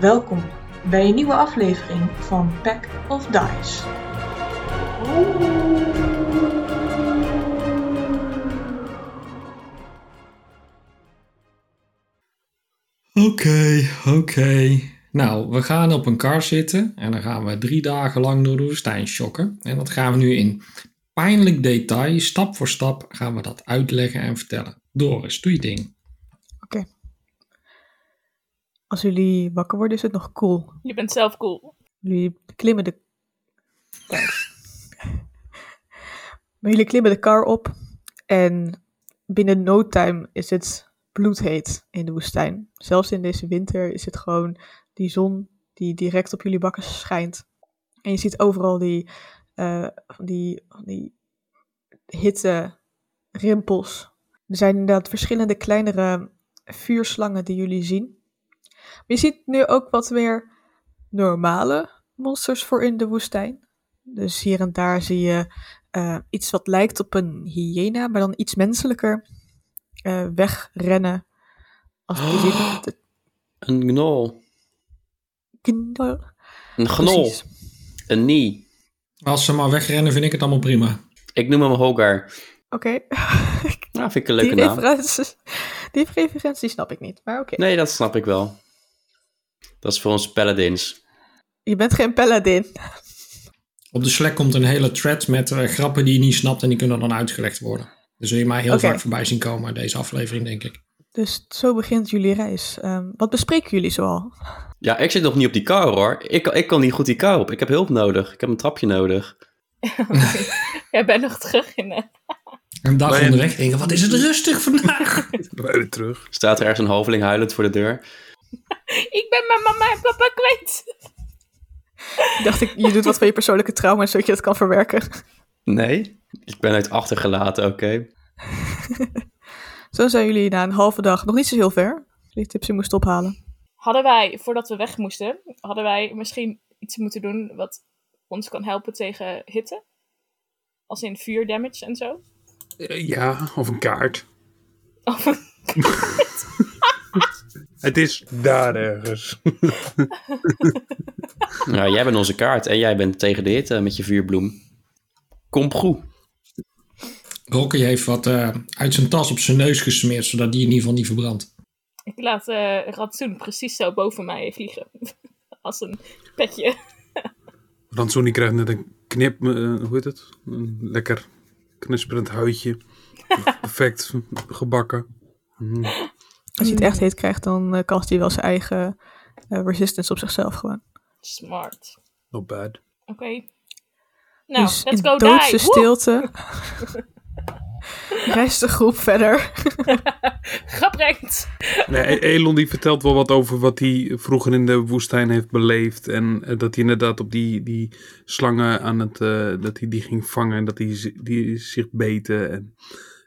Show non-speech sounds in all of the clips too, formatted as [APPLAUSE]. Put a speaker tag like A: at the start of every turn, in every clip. A: Welkom bij een nieuwe aflevering van Pack of Dice.
B: Oké, oké. Nou, we gaan op een kar zitten en dan gaan we drie dagen lang door de woestijn shokken. En dat gaan we nu in pijnlijk detail, stap voor stap, gaan we dat uitleggen en vertellen. Doris, doe je ding.
C: Als jullie wakker worden, is het nog cool.
D: Je bent zelf cool.
C: Jullie klimmen de. Thanks. [LAUGHS] maar jullie klimmen de kar op. En binnen no time is het bloedheet in de woestijn. Zelfs in deze winter is het gewoon die zon die direct op jullie bakken schijnt. En je ziet overal die, eh, van die, van die hitte rimpels. Er zijn inderdaad verschillende kleinere vuurslangen die jullie zien. Maar je ziet nu ook wat meer normale monsters voor in de woestijn. Dus hier en daar zie je eh, iets wat lijkt op een hyena, maar dan iets menselijker. eh, wegrennen. Als je ziet, het
E: Een gnol.
C: knal.
E: Een gnol.
C: Precies.
E: Een nie.
B: Als ze maar wegrennen, vind ik het allemaal prima.
E: Ik noem hem Hogar.
C: Oké, [LAUGHS]
E: Nou, vind ik een
C: die
E: leuke naam.
C: referenties. Die referentie snap ik niet, maar oké.
E: Nee, dat snap ik wel. Dat is voor ons paladins.
C: Je bent geen paladin.
B: Op de Slack komt een hele thread met eh, grappen die je niet snapt en die kunnen dan uitgelegd worden. Dus zul je mij heel
C: Oké.
B: vaak voorbij zien komen, deze aflevering, denk ik.
C: Dus zo begint jullie reis. Ehm, wat bespreken jullie zoal?
E: Ja, ik zit nog niet op die kar hoor. Ik, kan- ik kan niet goed die kar op. Ik heb hulp nodig. Ik heb een trapje nodig.
D: Jij bent nog terug in eh, de...
B: Een dag
F: Ben je-
B: onderweg denken, wat is het rustig vandaag?
F: Wij weer terug.
E: Staat er ergens een hoveling huilend voor de deur?
D: Ik ben mijn mama en papa kwijt.
C: Ik dacht, ik, je doet wat van je persoonlijke trauma, zodat je dat kan verwerken.
E: Nee. Ik ben uit achtergelaten, oké.
C: Zo zijn jullie na een halve dag nog niet zo heel ver. Jullie tipsy moest ophalen.
D: Hadden wij, voordat we weg moesten, hadden wij misschien iets moeten doen wat ons kan helpen tegen hitte? Als in vuur damage en zo?
F: Eh, ja, of een kaart.
D: Of
F: [LAUGHS] Het is daar ergens.
E: Nou, jij bent onze kaart en jij bent tegen de hitte met je vuurbloem. Kom goed.
B: Rocky heeft wat eh, uit zijn tas op zijn neus gesmeerd, zodat die in ieder geval niet verbrandt.
D: ik laat eh Ratsoen precies zo boven mij vliegen. [LAUGHS] Als een petje.
F: Ransoni krijgt net een knip, eh, hoe heet het? Een lekker knisperend [LAUGHS] huidje. Perfect gebakken. Mm.
C: Als je het
D: Hmm.
C: echt heet krijgt, dan eh, cast hij wel zijn eigen eh, resistance op zichzelf gewoon.
D: Smart.
F: Not bad.
D: Oké. Nou,
C: dus
D: let's
C: in
D: go
C: doodse
D: die. Woe! [LAUGHS]
C: stilte reist de groep verder.
D: Gebrengt.
F: Nee, E- Elon die vertelt wel wat over wat hij vroeger in de woestijn heeft beleefd. En eh, dat hij inderdaad op die, die slangen aan het, eh, dat hij die ging vangen. En dat hij zi- die zich beten. En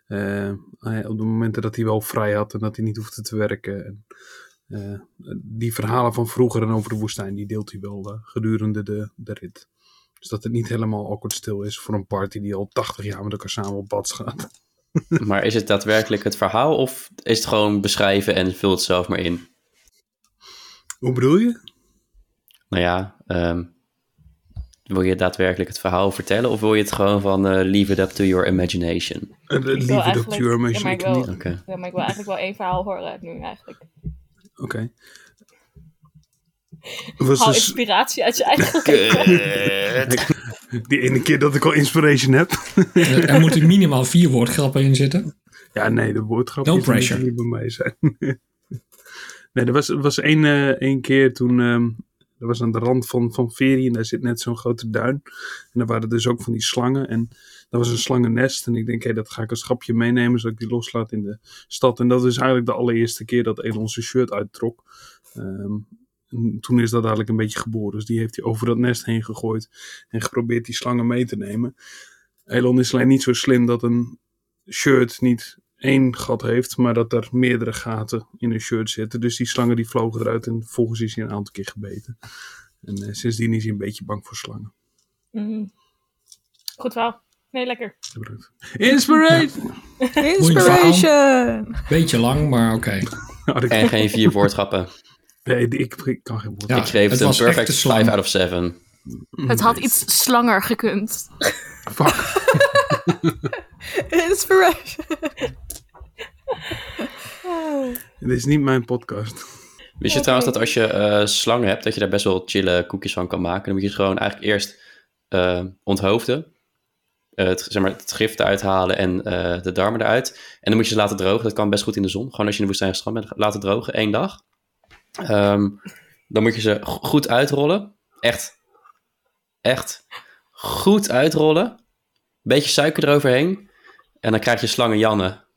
F: eh, hij- op de momenten dat hij wel vrij had en dat hij niet hoefde te werken. En, eh, die verhalen van vroeger en over de woestijn, die deelt hij wel eh, gedurende de, de rit. Dus dat het niet helemaal awkward stil is voor een party die al 80 jaar met elkaar samen op pad gaat.
E: Maar is het daadwerkelijk het verhaal of is het gewoon beschrijven en vul het zelf maar in?
F: Hoe bedoel je?
E: Nou ja, ehm, wil je daadwerkelijk het verhaal vertellen of wil je het gewoon van eh, leave it up to your imagination?
F: Eh,
D: wil
F: Lieve
D: eigenlijk-
F: docteur, maar
D: Ja, maar ik
F: ik
D: wil-
F: niet.
E: Oké.
D: Ja, maar ik wil eigenlijk wel één verhaal horen nu eigenlijk.
F: Oké. Was
D: Haal
F: dus
D: inspiratie uit je eigen
F: die ene keer dat ik al inspiration heb.
B: Er Eh, er moeten minimaal vier woordgrappen in zitten.
F: Ja, nee, de woordgrapjes
B: No
F: die moeten
B: pressure.
F: niet bij mij zijn. [LAUGHS] nee, er was, er was één, eh, één keer toen... ehm er was aan de rand van, van Veri en daar zit net zo'n grote duin. En daar waren dus ook van die slangen. En daar was een slangennest. En ik denk, hé, dat ga ik als grapje meenemen, zodat ik die loslaat in de stad. En dat is eigenlijk de allereerste keer dat Elon zijn shirt uittrok. Ehm, en toen is dat eigenlijk een beetje geboren. Dus die heeft hij over dat nest heen gegooid en geprobeerd die slangen mee te nemen. Elon is alleen niet zo slim dat een shirt niet één gat heeft, maar dat er meerdere gaten in een shirt zitten. Dus die slangen die vlogen eruit en volgens is hij een aantal keer gebeten. En eh, sindsdien is hij een beetje bang voor slangen.
D: Mm. Goed verhaal. Nee, lekker.
F: Gebruikt. Inspiration!
C: Inspiration!
B: Beetje lang, maar oké.
F: Had ik-
E: En geen vier woordgrappen.
F: Nee, die- ik, ik kan geen woord.
B: Ja,
E: ik geef
B: het
E: het een
B: was echt
E: perfect
B: de slang.
E: 5 out of 7.
D: Het had iets slanger gekund.
F: Fuck.
C: Inspiration.
F: Dit is niet mijn podcast.
E: Wist je
D: Oké.
E: trouwens dat als je eh, slangen hebt, dat je daar best wel chille koekjes van kan maken? Dan moet je het gewoon eigenlijk eerst eh, onthoofden. Eh, het, zeg maar, het gif eruit halen en eh, de darmen eruit. En dan moet je ze laten drogen. Dat kan best goed in de zon. Gewoon als je in de woestijn gestrand bent, laten drogen. één dag. Ehm, dan moet je ze go- goed uitrollen. Echt. Echt. Goed uitrollen. Beetje suiker eroverheen. En dan krijg je slangen Janne.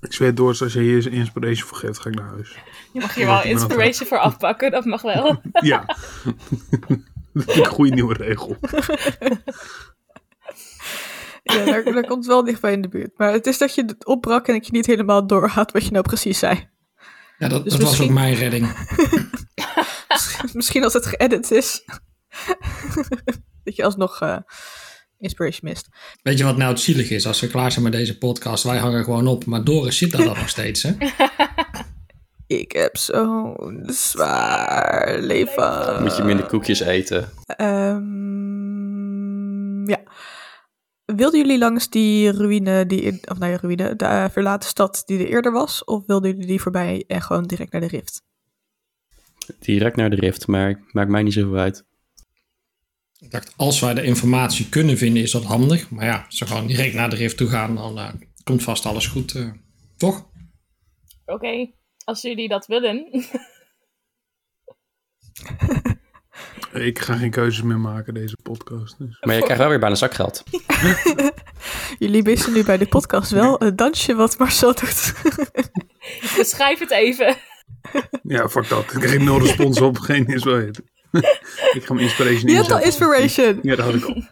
F: Ik zweer door, als je hier inspiration voor geeft, ga ik naar huis.
D: Je mag hier wel inspiration voor afpakken, dat mag wel.
F: Ja. [LAUGHS] Dat is een goede nieuwe regel.
C: Ja, daar, daar komt wel dichtbij in de buurt. Maar het is dat je het opbrak en dat je niet helemaal doorgaat wat je nou precies zei.
B: Ja, dat,
C: Dus
B: dat was
C: misschien-
B: ook mijn redding.
C: Misschien als het geëdit is. [LAUGHS] dat je alsnog eh, inspiration mist.
B: Weet je wat nou het zielig is? Als we klaar zijn met deze podcast, wij hangen gewoon op. Maar Doris zit daar dan nog steeds, hè?
C: Ik heb zo'n zwaar leven.
E: Moet je minder koekjes eten.
C: Ehm, ja. Wilden jullie langs die ruïne, die in- of nou ja, ruïne, de eh, verlaten stad die er eerder was? Of wilden jullie die voorbij en gewoon direct naar de rift?
E: Direct naar de rift, maar maakt mij niet zoveel uit.
B: Ik dacht, als wij de informatie kunnen vinden, is dat handig. Maar ja, als we gewoon direct naar de rift toe gaan, dan eh, komt vast alles goed, eh, toch?
D: Oké, als jullie dat willen. [LAUGHS]
F: Ik ga geen keuzes meer maken deze podcast. Dus.
E: Maar je krijgt wel weer bijna zakgeld.
C: Jullie wisten nu bij de podcast wel het dansje wat Marcel doet.
D: Beschrijf het even.
F: Ja, fuck dat. Ik kreeg nul respons op. Geen inspiration. [LAUGHS] ik ga mijn inspiration
C: Je hebt al
F: inzetten.
C: inspiration.
F: Ja, dat had ik al.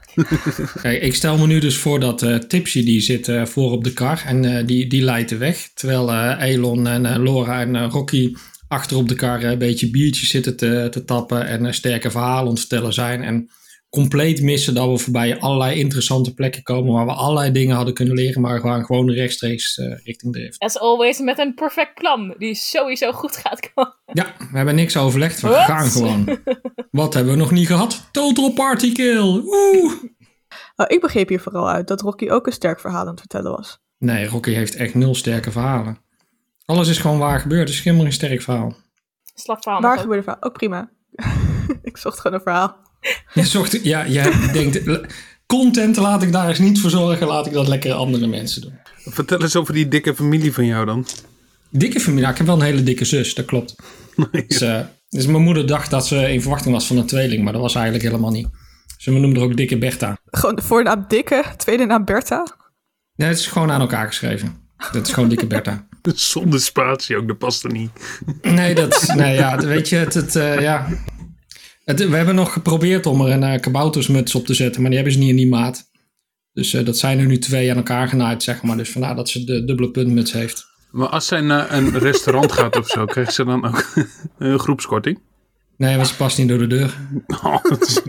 B: Kijk, ik stel me nu dus voor dat eh, Tipsy die zit eh, voor op de kar en eh, die, die leidt de weg. Terwijl eh, Elon en eh, Laura en eh, Rocky achter op de kar eh, een beetje biertjes zitten te, te tappen en eh, sterke verhalen ontstellen zijn. En compleet missen dat we voorbij allerlei interessante plekken komen waar we allerlei dingen hadden kunnen leren, maar gewoon, gewoon rechtstreeks eh, richting de rift.
D: As always met een perfect plan, die sowieso goed gaat komen. [LAUGHS]
B: Ja, we hebben niks overlegd. We
D: Wat?
B: gaan gewoon. Wat hebben we nog niet gehad? Total party kill. Oeh.
C: Oh, ik begreep hier vooral uit dat Rocky ook een sterk verhaal aan het vertellen was.
B: Nee, Rocky heeft echt nul sterke verhalen. Alles is gewoon waar gebeurd. Het is helemaal geen sterk verhaal.
D: Slap verhaal.
C: Waar
D: nog ook.
C: gebeurde verhaal? Ook prima. [LAUGHS] ik zocht gewoon een verhaal.
B: Je zocht, ja, je denkt, [LAUGHS] l- content laat ik daar eens niet voor zorgen. Laat ik dat lekker andere mensen doen.
F: Vertel eens over die dikke familie van jou dan.
B: Dikke familie. Nou, ik heb wel een hele dikke zus, dat klopt. Dus, eh, dus mijn moeder dacht dat ze in verwachting was van een tweeling, maar dat was eigenlijk helemaal niet. Ze noemde haar ook Dikke Bertha.
C: Gewoon de voornaam Dikke, tweede naam Bertha.
B: Nee, het is gewoon aan elkaar geschreven. Dat is gewoon Dikke Bertha.
F: [LAUGHS] Zonder spatie ook, dat past er niet.
B: Nee, dat, nee ja, het- weet je, het, het, eh, ja. Het- we hebben nog geprobeerd om er een eh, kaboutersmuts op te zetten, maar die hebben ze niet in die maat. Dus eh, dat zijn er nu twee aan elkaar genaaid, zeg maar. Dus vandaar dat ze de dubbele puntmuts heeft.
F: Maar als zij naar een restaurant gaat of zo, krijgt ze dan ook [LAUGHS] een groepskorting?
B: Nee, want ze past niet door de deur.
F: Oh, dat is-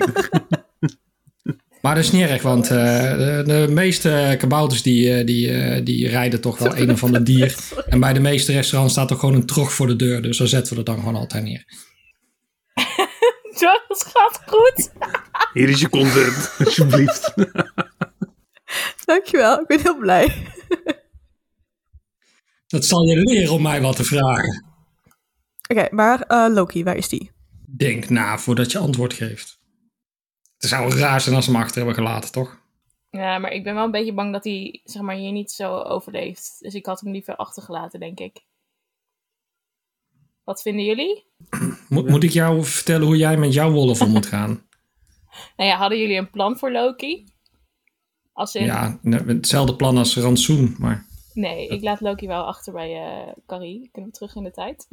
B: Maar dat is niet erg, want eh, de, de meeste kabouters die, eh, die, eh, die rijden toch wel een of ander dier. En bij de meeste restaurants staat toch gewoon een trog voor de deur. Dus dan zetten we er dan gewoon altijd neer.
D: [LAUGHS] Dat gaat goed.
F: Hier is je content, [LAUGHS] alsjeblieft.
C: Dankjewel, ik ben heel blij.
B: Dat zal je leren om mij wat te vragen.
C: Oké, maar eh, Loki, waar is die?
B: Denk na voordat je antwoord geeft. Het zou raar zijn als ze hem achter hebben gelaten, toch?
D: Ja, maar ik ben wel een beetje bang dat hij zeg maar, hier niet zo overleeft. Dus ik had hem liever achtergelaten, denk ik. Wat vinden jullie?
B: Moet, moet ik jou vertellen hoe jij met jouw wolf om moet gaan?
D: Nou ja, hadden jullie een plan voor Loki? Als in,
B: Ja, nee, hetzelfde plan als rantsoen, maar...
D: Nee, ik laat Loki wel achter bij eh Carrie. Kunnen we terug in de tijd?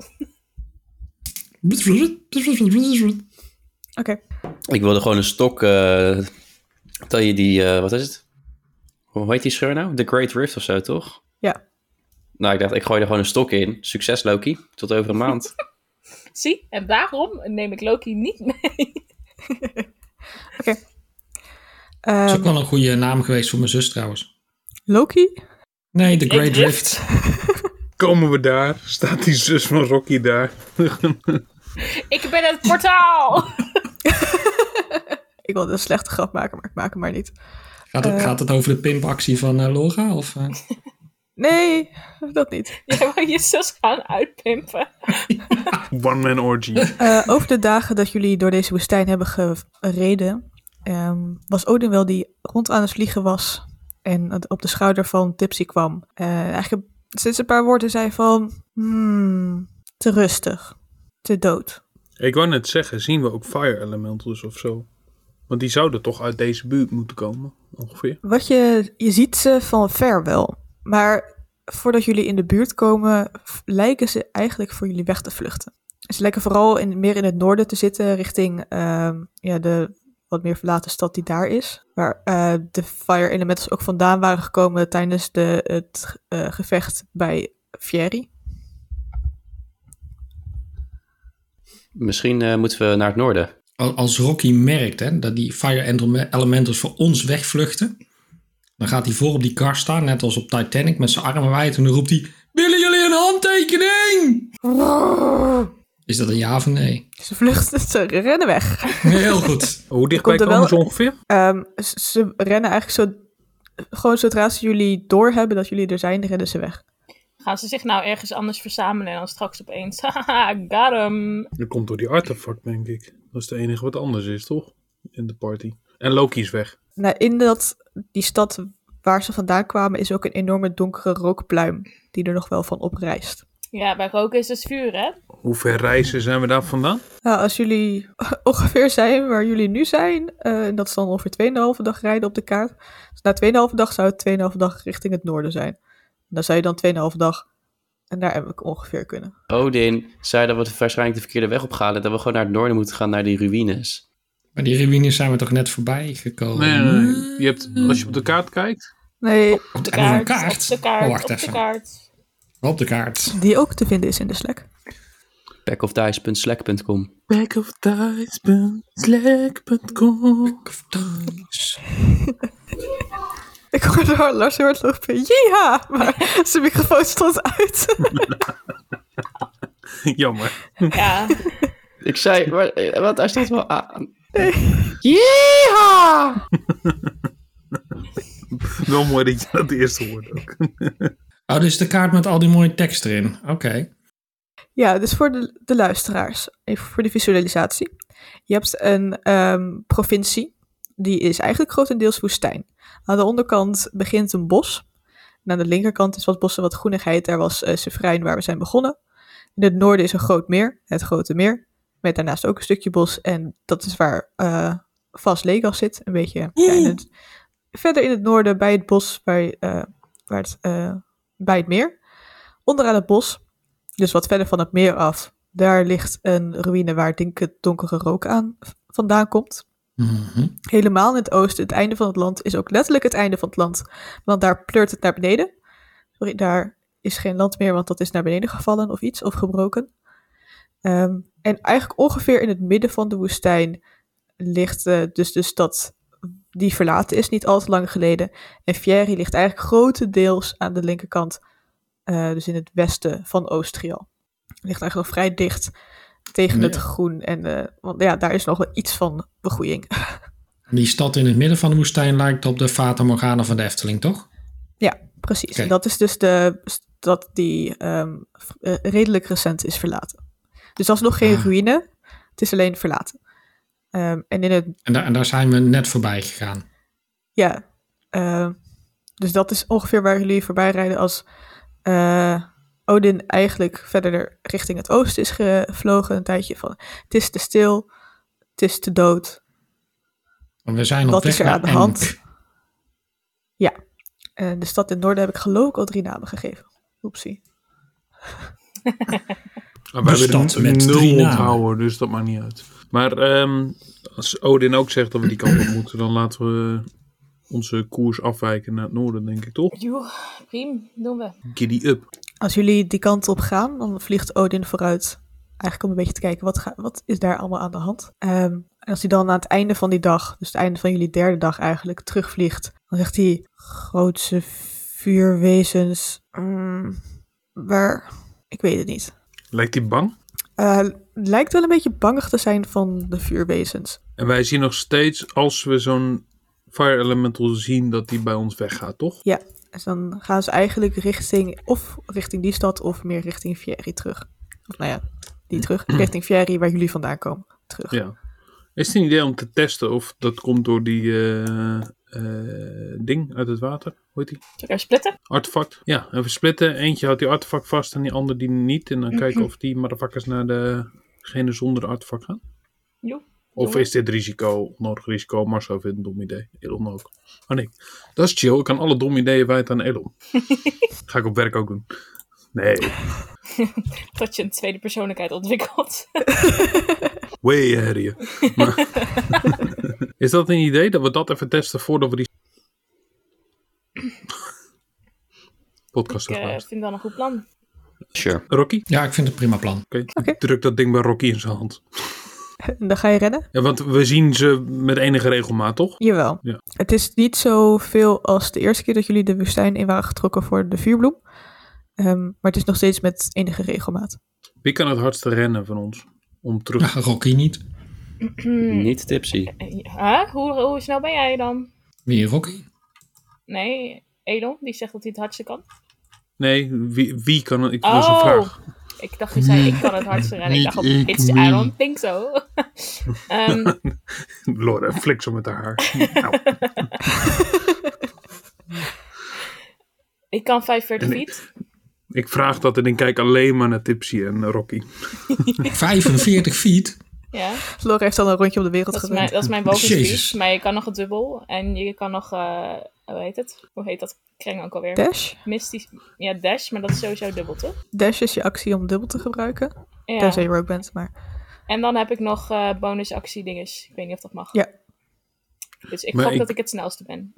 C: Oké,
E: Ik wilde gewoon een stok. eh dat je die. eh, wat is het? Hoe heet die scheur nou? The Great Rift of zo, toch?
C: ja.
E: Nou, ik dacht, ik gooi er gewoon een stok in. Succes, Loki. Tot over een maand.
D: Zie, en daarom neem ik Loki niet mee. [LAUGHS]
B: Dat
C: Ehm,
B: is ook wel een goede naam geweest voor mijn zus trouwens.
C: Loki?
B: Nee, The Great
D: Great
B: Rift.
F: Komen we daar, staat die zus van Rocky daar. [LAUGHS]
D: Ik ben het portaal! [LAUGHS]
C: Ik wilde een slechte grap maken, maar ik maak hem maar niet.
B: Gaat het,
C: Eh.
B: gaat het over de pimpactie van eh, Laura? Of, eh?
C: Nee, dat niet.
D: Jij wou je zus gaan uitpimpen.
F: One man orgy.
C: Eh, over de dagen dat jullie door deze woestijn hebben gereden, ehm, was Odin wel die rond aan het vliegen was en het op de schouder van Tipsy kwam. Eh, eigenlijk sinds een paar woorden zei van, hmm, te rustig, te dood.
F: Ik wou net zeggen, zien we ook fire elementals of zo? Want die zouden toch uit deze buurt moeten komen, ongeveer.
C: Wat je, je ziet ze van ver wel, maar voordat jullie in de buurt komen, f- lijken ze eigenlijk voor jullie weg te vluchten. Ze lijken vooral in, meer in het noorden te zitten, richting ehm, ja, de wat meer verlaten stad die daar is. Waar eh, de fire elementals ook vandaan waren gekomen tijdens de, het eh, gevecht bij Fieri.
E: Misschien eh, moeten we naar het noorden.
B: Al- Als Rocky merkt hè, dat die Fire Endel- Elementals voor ons wegvluchten, dan gaat hij voor op die kar staan, net als op Titanic, met zijn armen wijd en dan roept hij: Willen jullie een handtekening? Is dat een ja of een nee?
C: Ze vluchten, ze rennen weg.
B: Heel goed.
F: Oh, Hoe dichtbij
C: Komt er wel-
F: komen ze ongeveer?
C: Ehm, ze- ze rennen eigenlijk zo, gewoon zodra ze jullie doorhebben dat jullie er zijn, rennen ze weg.
D: Gaan ze zich nou ergens anders verzamelen en dan straks opeens... [LAUGHS] Haha, got hem.
F: Dat komt door die artefact, denk ik. Dat is de enige wat anders is, toch? In de party. En Loki is weg.
C: Nou, in dat, die stad waar ze vandaan kwamen is ook een enorme donkere rookpluim die er nog wel van oprijst.
D: Ja, bij roken is dus vuur, hè?
F: Hoe ver reizen zijn we daar vandaan?
C: Nou, als jullie [LAUGHS] ongeveer zijn waar jullie nu zijn, eh, en dat is dan ongeveer 2,5 dag rijden op de kaart. Dus na 2,5 dag zou het 2,5 dag richting het noorden zijn. En dan zou je dan 2,5 dag naar Emmerk ongeveer kunnen.
E: Odin zei dat we waarschijnlijk de verkeerde weg opgaan en dat we gewoon naar het noorden moeten gaan, naar die ruïnes.
B: [LAUGHS] Maar die ruïnes zijn we toch net voorbij gekomen?
F: Nee, nee, nee. Je hebt, als je op de kaart kijkt.
C: Nee,
B: Op de
D: Kaart,
B: kaart. kaart.
D: Op de kaart,
B: Oh, wacht
D: op
B: even.
D: de kaart.
B: Op de kaart.
C: die ook te vinden is in de Slack.
E: Backofdice.slack.com.
F: Backofdice.slack.com
C: Ik hoorde haar Lars heel hard lopen, ja, maar [LAUGHS] zijn microfoon stond uit.
F: [LAUGHS]
C: [LAUGHS]
F: Jammer.
D: Ja,
E: Ik zei, maar, eh, wat, hij staat wel aan.
F: Wel mooi dat je dat eerste hoort ook.
B: Oh, dus de kaart met al die mooie tekst erin. Oké.
C: Ja, dus voor de, de luisteraars, even voor de visualisatie. Je hebt een ehm, provincie, die is eigenlijk grotendeels woestijn. Aan de onderkant begint een bos. En aan de linkerkant is wat bossen, wat groenigheid. Daar was eh Sefrein waar we zijn begonnen. In het noorden is een groot meer, het Grote Meer. Met daarnaast ook een stukje bos. En dat is waar eh Vast Legas zit, een beetje. ja, in het- verder in het noorden, bij het bos, bij, eh, waar het, eh, bij het meer. Onderaan het bos dus wat verder van het meer af, daar ligt een ruïne waar dikke donkere rook aan v- vandaan komt.
B: Mhm.
C: Helemaal in het oosten, het einde van het land, is ook letterlijk het einde van het land. Want daar pleurt het naar beneden. Sorry, daar is geen land meer, want dat is naar beneden gevallen of iets, of gebroken. Ehm, en eigenlijk ongeveer in het midden van de woestijn ligt eh, dus de stad die verlaten is, niet al te lang geleden. En Fieri ligt eigenlijk grotendeels aan de linkerkant, eh, dus in het westen van Oostrial. Ligt eigenlijk nog vrij dicht tegen het
B: Ja.
C: groen. En, eh, want ja, daar is nog wel iets van begroeiing.
B: Die stad in het midden van de woestijn lijkt op de Fata Morgana van de Efteling, toch?
C: Ja, precies.
B: Oké.
C: En dat is dus de stad die ehm, v- eh, redelijk recent is verlaten. Dus dat is nog geen
B: Ah.
C: ruïne, het is alleen verlaten. Ehm, en in het,
B: En, daar- en daar zijn we net voorbij gegaan.
C: ja, ehm, dus dat is ongeveer waar jullie voorbij rijden als eh, Odin eigenlijk verder richting het oosten is gevlogen. Een tijdje van, het is te stil, het is te dood.
B: Want we zijn op
C: Wat
B: weg
C: is er
B: naar
C: aan de hand?
B: Enk.
C: En de stad in het noorden heb ik geloof ik al drie namen gegeven. Oepsie.
F: Maar Ah, wij
B: De
F: hebben
B: stad met
F: nul
B: drie namen.
F: onthouden, dus dat maakt niet uit. Maar ehm, als Odin ook zegt dat we die kant op moeten, dan laten we onze koers afwijken naar het noorden, denk ik toch?
D: joh, prima, doen we.
F: Giddy up.
C: Als jullie die kant op gaan, dan vliegt Odin vooruit. Eigenlijk om een beetje te kijken, wat, ga- wat is daar allemaal aan de hand? Ehm, en als hij dan aan het einde van die dag, dus het einde van jullie derde dag eigenlijk, terugvliegt, dan zegt hij, grootse vuurwezens, mm, waar... Ik weet het niet.
F: Lijkt hij bang?
C: Eh, het lijkt wel een beetje bangig te zijn van de vuurwezens.
F: En wij zien nog steeds, als we zo'n Fire Elemental zien, dat die bij ons weggaat, toch?
C: Dus dan gaan ze eigenlijk richting, of richting die stad, of meer richting Fieri terug. Of nou ja, die terug. Richting Fieri, waar jullie vandaan komen, terug.
F: Ja. Is het een idee om te testen of dat komt door die eh, eh, ding uit het water? Hoe heet die?
D: Zullen we elkaar splitten?
F: Artefact? Ja, even splitten. Eentje houdt die artefact vast en die ander die niet. En dan kijken of die motherfuckers naar degene zonder artefact gaan.
D: Jo.
F: Of is dit risico, onnodig risico? Marcel vindt een dom idee. Elon ook. Oh nee, dat is chill. Ik kan alle domme ideeën wijten aan Elon. Ga ik op werk ook doen. Nee,
D: Dat je een tweede persoonlijkheid
B: [LAUGHS]
D: ontwikkelt.
F: way ahead of you. Maar- [LAUGHS] is dat een idee dat we dat even testen voordat we die... Podcast
D: Ik eh,
F: afluisteren.
D: vind dat een goed plan.
E: Sure.
F: Rocky?
B: Ja, ik vind het een prima plan.
F: Oké,
C: Oké.
F: druk dat ding bij Rocky in zijn hand.
C: En [LAUGHS] dan ga je rennen?
F: Ja, want we zien ze met enige regelmaat, toch?
C: Jawel.
F: Ja.
C: Het is niet zoveel als de eerste keer dat jullie de woestijn in waren getrokken voor de vuurbloem. Ehm, maar het is nog steeds met enige regelmaat.
F: Wie kan het hardste rennen van ons? Om terug...
B: Ja, Nou, Rocky niet.
E: Niet tipsy.
D: Huh? Hoe, hoe snel ben jij dan?
B: Wie Rocky? [LAUGHS]
D: Nee, Elon, die zegt dat hij het hardste kan.
F: Nee, wie, wie kan het? Ik was een
D: Oh.
F: vraag. [LAUGHS]
D: Ik dacht, je zei, ik kan het hardste rennen. Ik
F: Niet
D: dacht, al,
F: ik,
D: it's, I
F: me.
D: don't think so. [LAUGHS] Ehm,
F: Laura, flik zo met haar haar. Nou,
D: ik kan 45
F: Nee.
D: feet.
F: ik vraag dat en ik kijk alleen maar naar Tipsy en Rocky.
B: 45 feet?
D: Ja,
C: Flora heeft al een rondje om de wereld
D: dat is
C: gerend.
D: mijn, dat is mijn walking
B: Jezus.
D: speed. Maar je kan nog het dubbel. En je kan nog, eh, hoe heet het? Hoe heet dat kreng ook alweer?
C: Dash?
D: Mystisch, ja, dash, maar dat is sowieso dubbel, toch?
C: Dash is je actie om dubbel te gebruiken.
D: Ja.
C: Tenzij je rogue bent, maar...
D: En dan heb ik nog eh bonusactie dinges. Ik weet niet of dat mag.
C: Ja.
D: Dus ik
F: Maar
D: hoop
F: ik-
D: dat ik het snelste ben.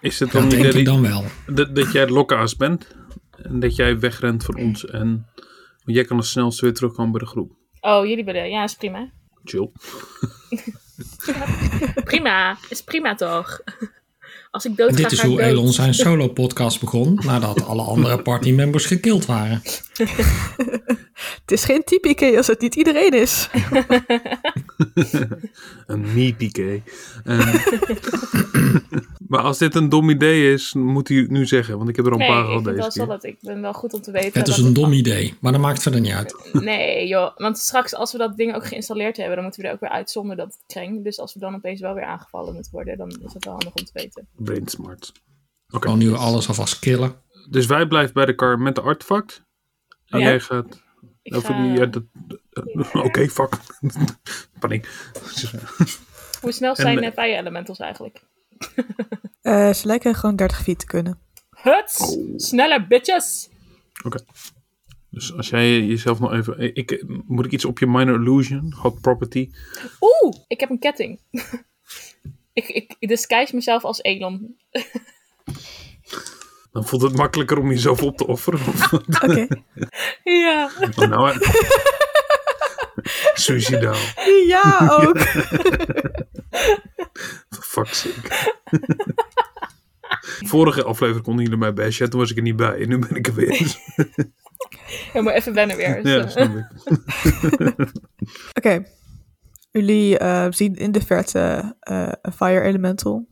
F: Is het dan
B: Dat
F: niet
B: denk
F: dat,
B: ik
F: ik-
B: dan wel.
F: dat, dat jij Lokkaas bent? En dat jij wegrent van ons en... want jij kan het snelst weer terugkomen bij de groep.
D: Oh, jullie bedoelen. Ja, is
C: [LAUGHS]
D: prima.
F: Chill.
D: Prima. Is prima toch? [LAUGHS] Als ik
B: En
D: dood ga,
B: dit is
D: ga ik
B: hoe
D: dood.
B: Elon zijn solo-podcast begon, nadat alle andere partymembers gekild waren.
C: Het is geen typieke als het niet iedereen
D: [LAUGHS]
C: is.
F: Een me-PK. Ehm, [LAUGHS] maar als dit een dom idee is, moet hij het nu zeggen. Want ik heb er al een
D: Nee,
F: paar
D: ik
F: gehad
D: vind
F: deze
D: wel
F: keer.
D: zo dat ik ben wel goed om te weten.
B: Het is
D: dat
B: een dom idee, maar dat maakt verder niet uit.
D: Nee joh, want straks als we dat ding ook geïnstalleerd hebben, dan moeten we er ook weer uit zonder dat het kring. Dus als we dan opeens wel weer aangevallen moeten worden, dan is dat wel handig om te weten.
F: Brain smart.
B: Gewoon nu alles alvast killen.
F: Dus wij blijven bij de kar met de artefact. En
D: Ja.
F: jij gaat...
D: Ik
F: Of
D: ga-
F: Nou, die- eh, ja, dat, eh, [LAUGHS] Oké, fuck. Paniek.
D: Hoe snel
F: En- eh,
D: zijn de fire elementals eigenlijk?
C: Eh, ze lijken gewoon 30 feet te kunnen.
D: Huts!
F: Oh.
D: Sneller bitches!
F: Dus als jij jezelf nog even... Ik, moet ik iets op je minor illusion? Hot property?
D: Oeh, ik heb een ketting. [LAUGHS] ik, ik disguise mezelf als Elon.
F: Dan voelt het makkelijker om jezelf op te offeren.
C: Oké.
D: Ja. [LAUGHS]
F: Maar [LAUGHS] nou, hè. [LAUGHS] Suicidaal.
C: Ja, ook.
F: Fuck sake. [LAUGHS] Vorige aflevering konden jullie mij bashen. Toen was ik er niet bij. En nu ben ik er weer. [LAUGHS]
D: ja maar even wennen weer. Dus,
F: ja,
D: eh,
F: snap ik.
C: Oké. Jullie eh, zien in de verte eh, een fire elemental.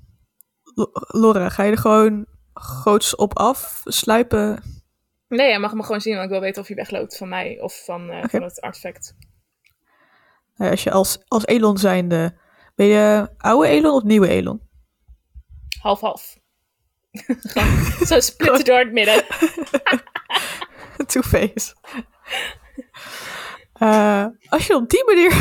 C: Lo- Laura, ga je er gewoon groots op af? Sluipen?
D: Nee, hij mag me gewoon zien, want ik wil weten of hij wegloopt van mij of van, eh,
C: Oké.
D: van het artefact.
C: Eh, als je als, als Elon zijnde... Ben je oude Elon of nieuwe Elon? [LAUGHS]
D: Half-half. Gewoon Zo split door het midden.
C: Two-face. [LAUGHS] Eh, als je op die manier...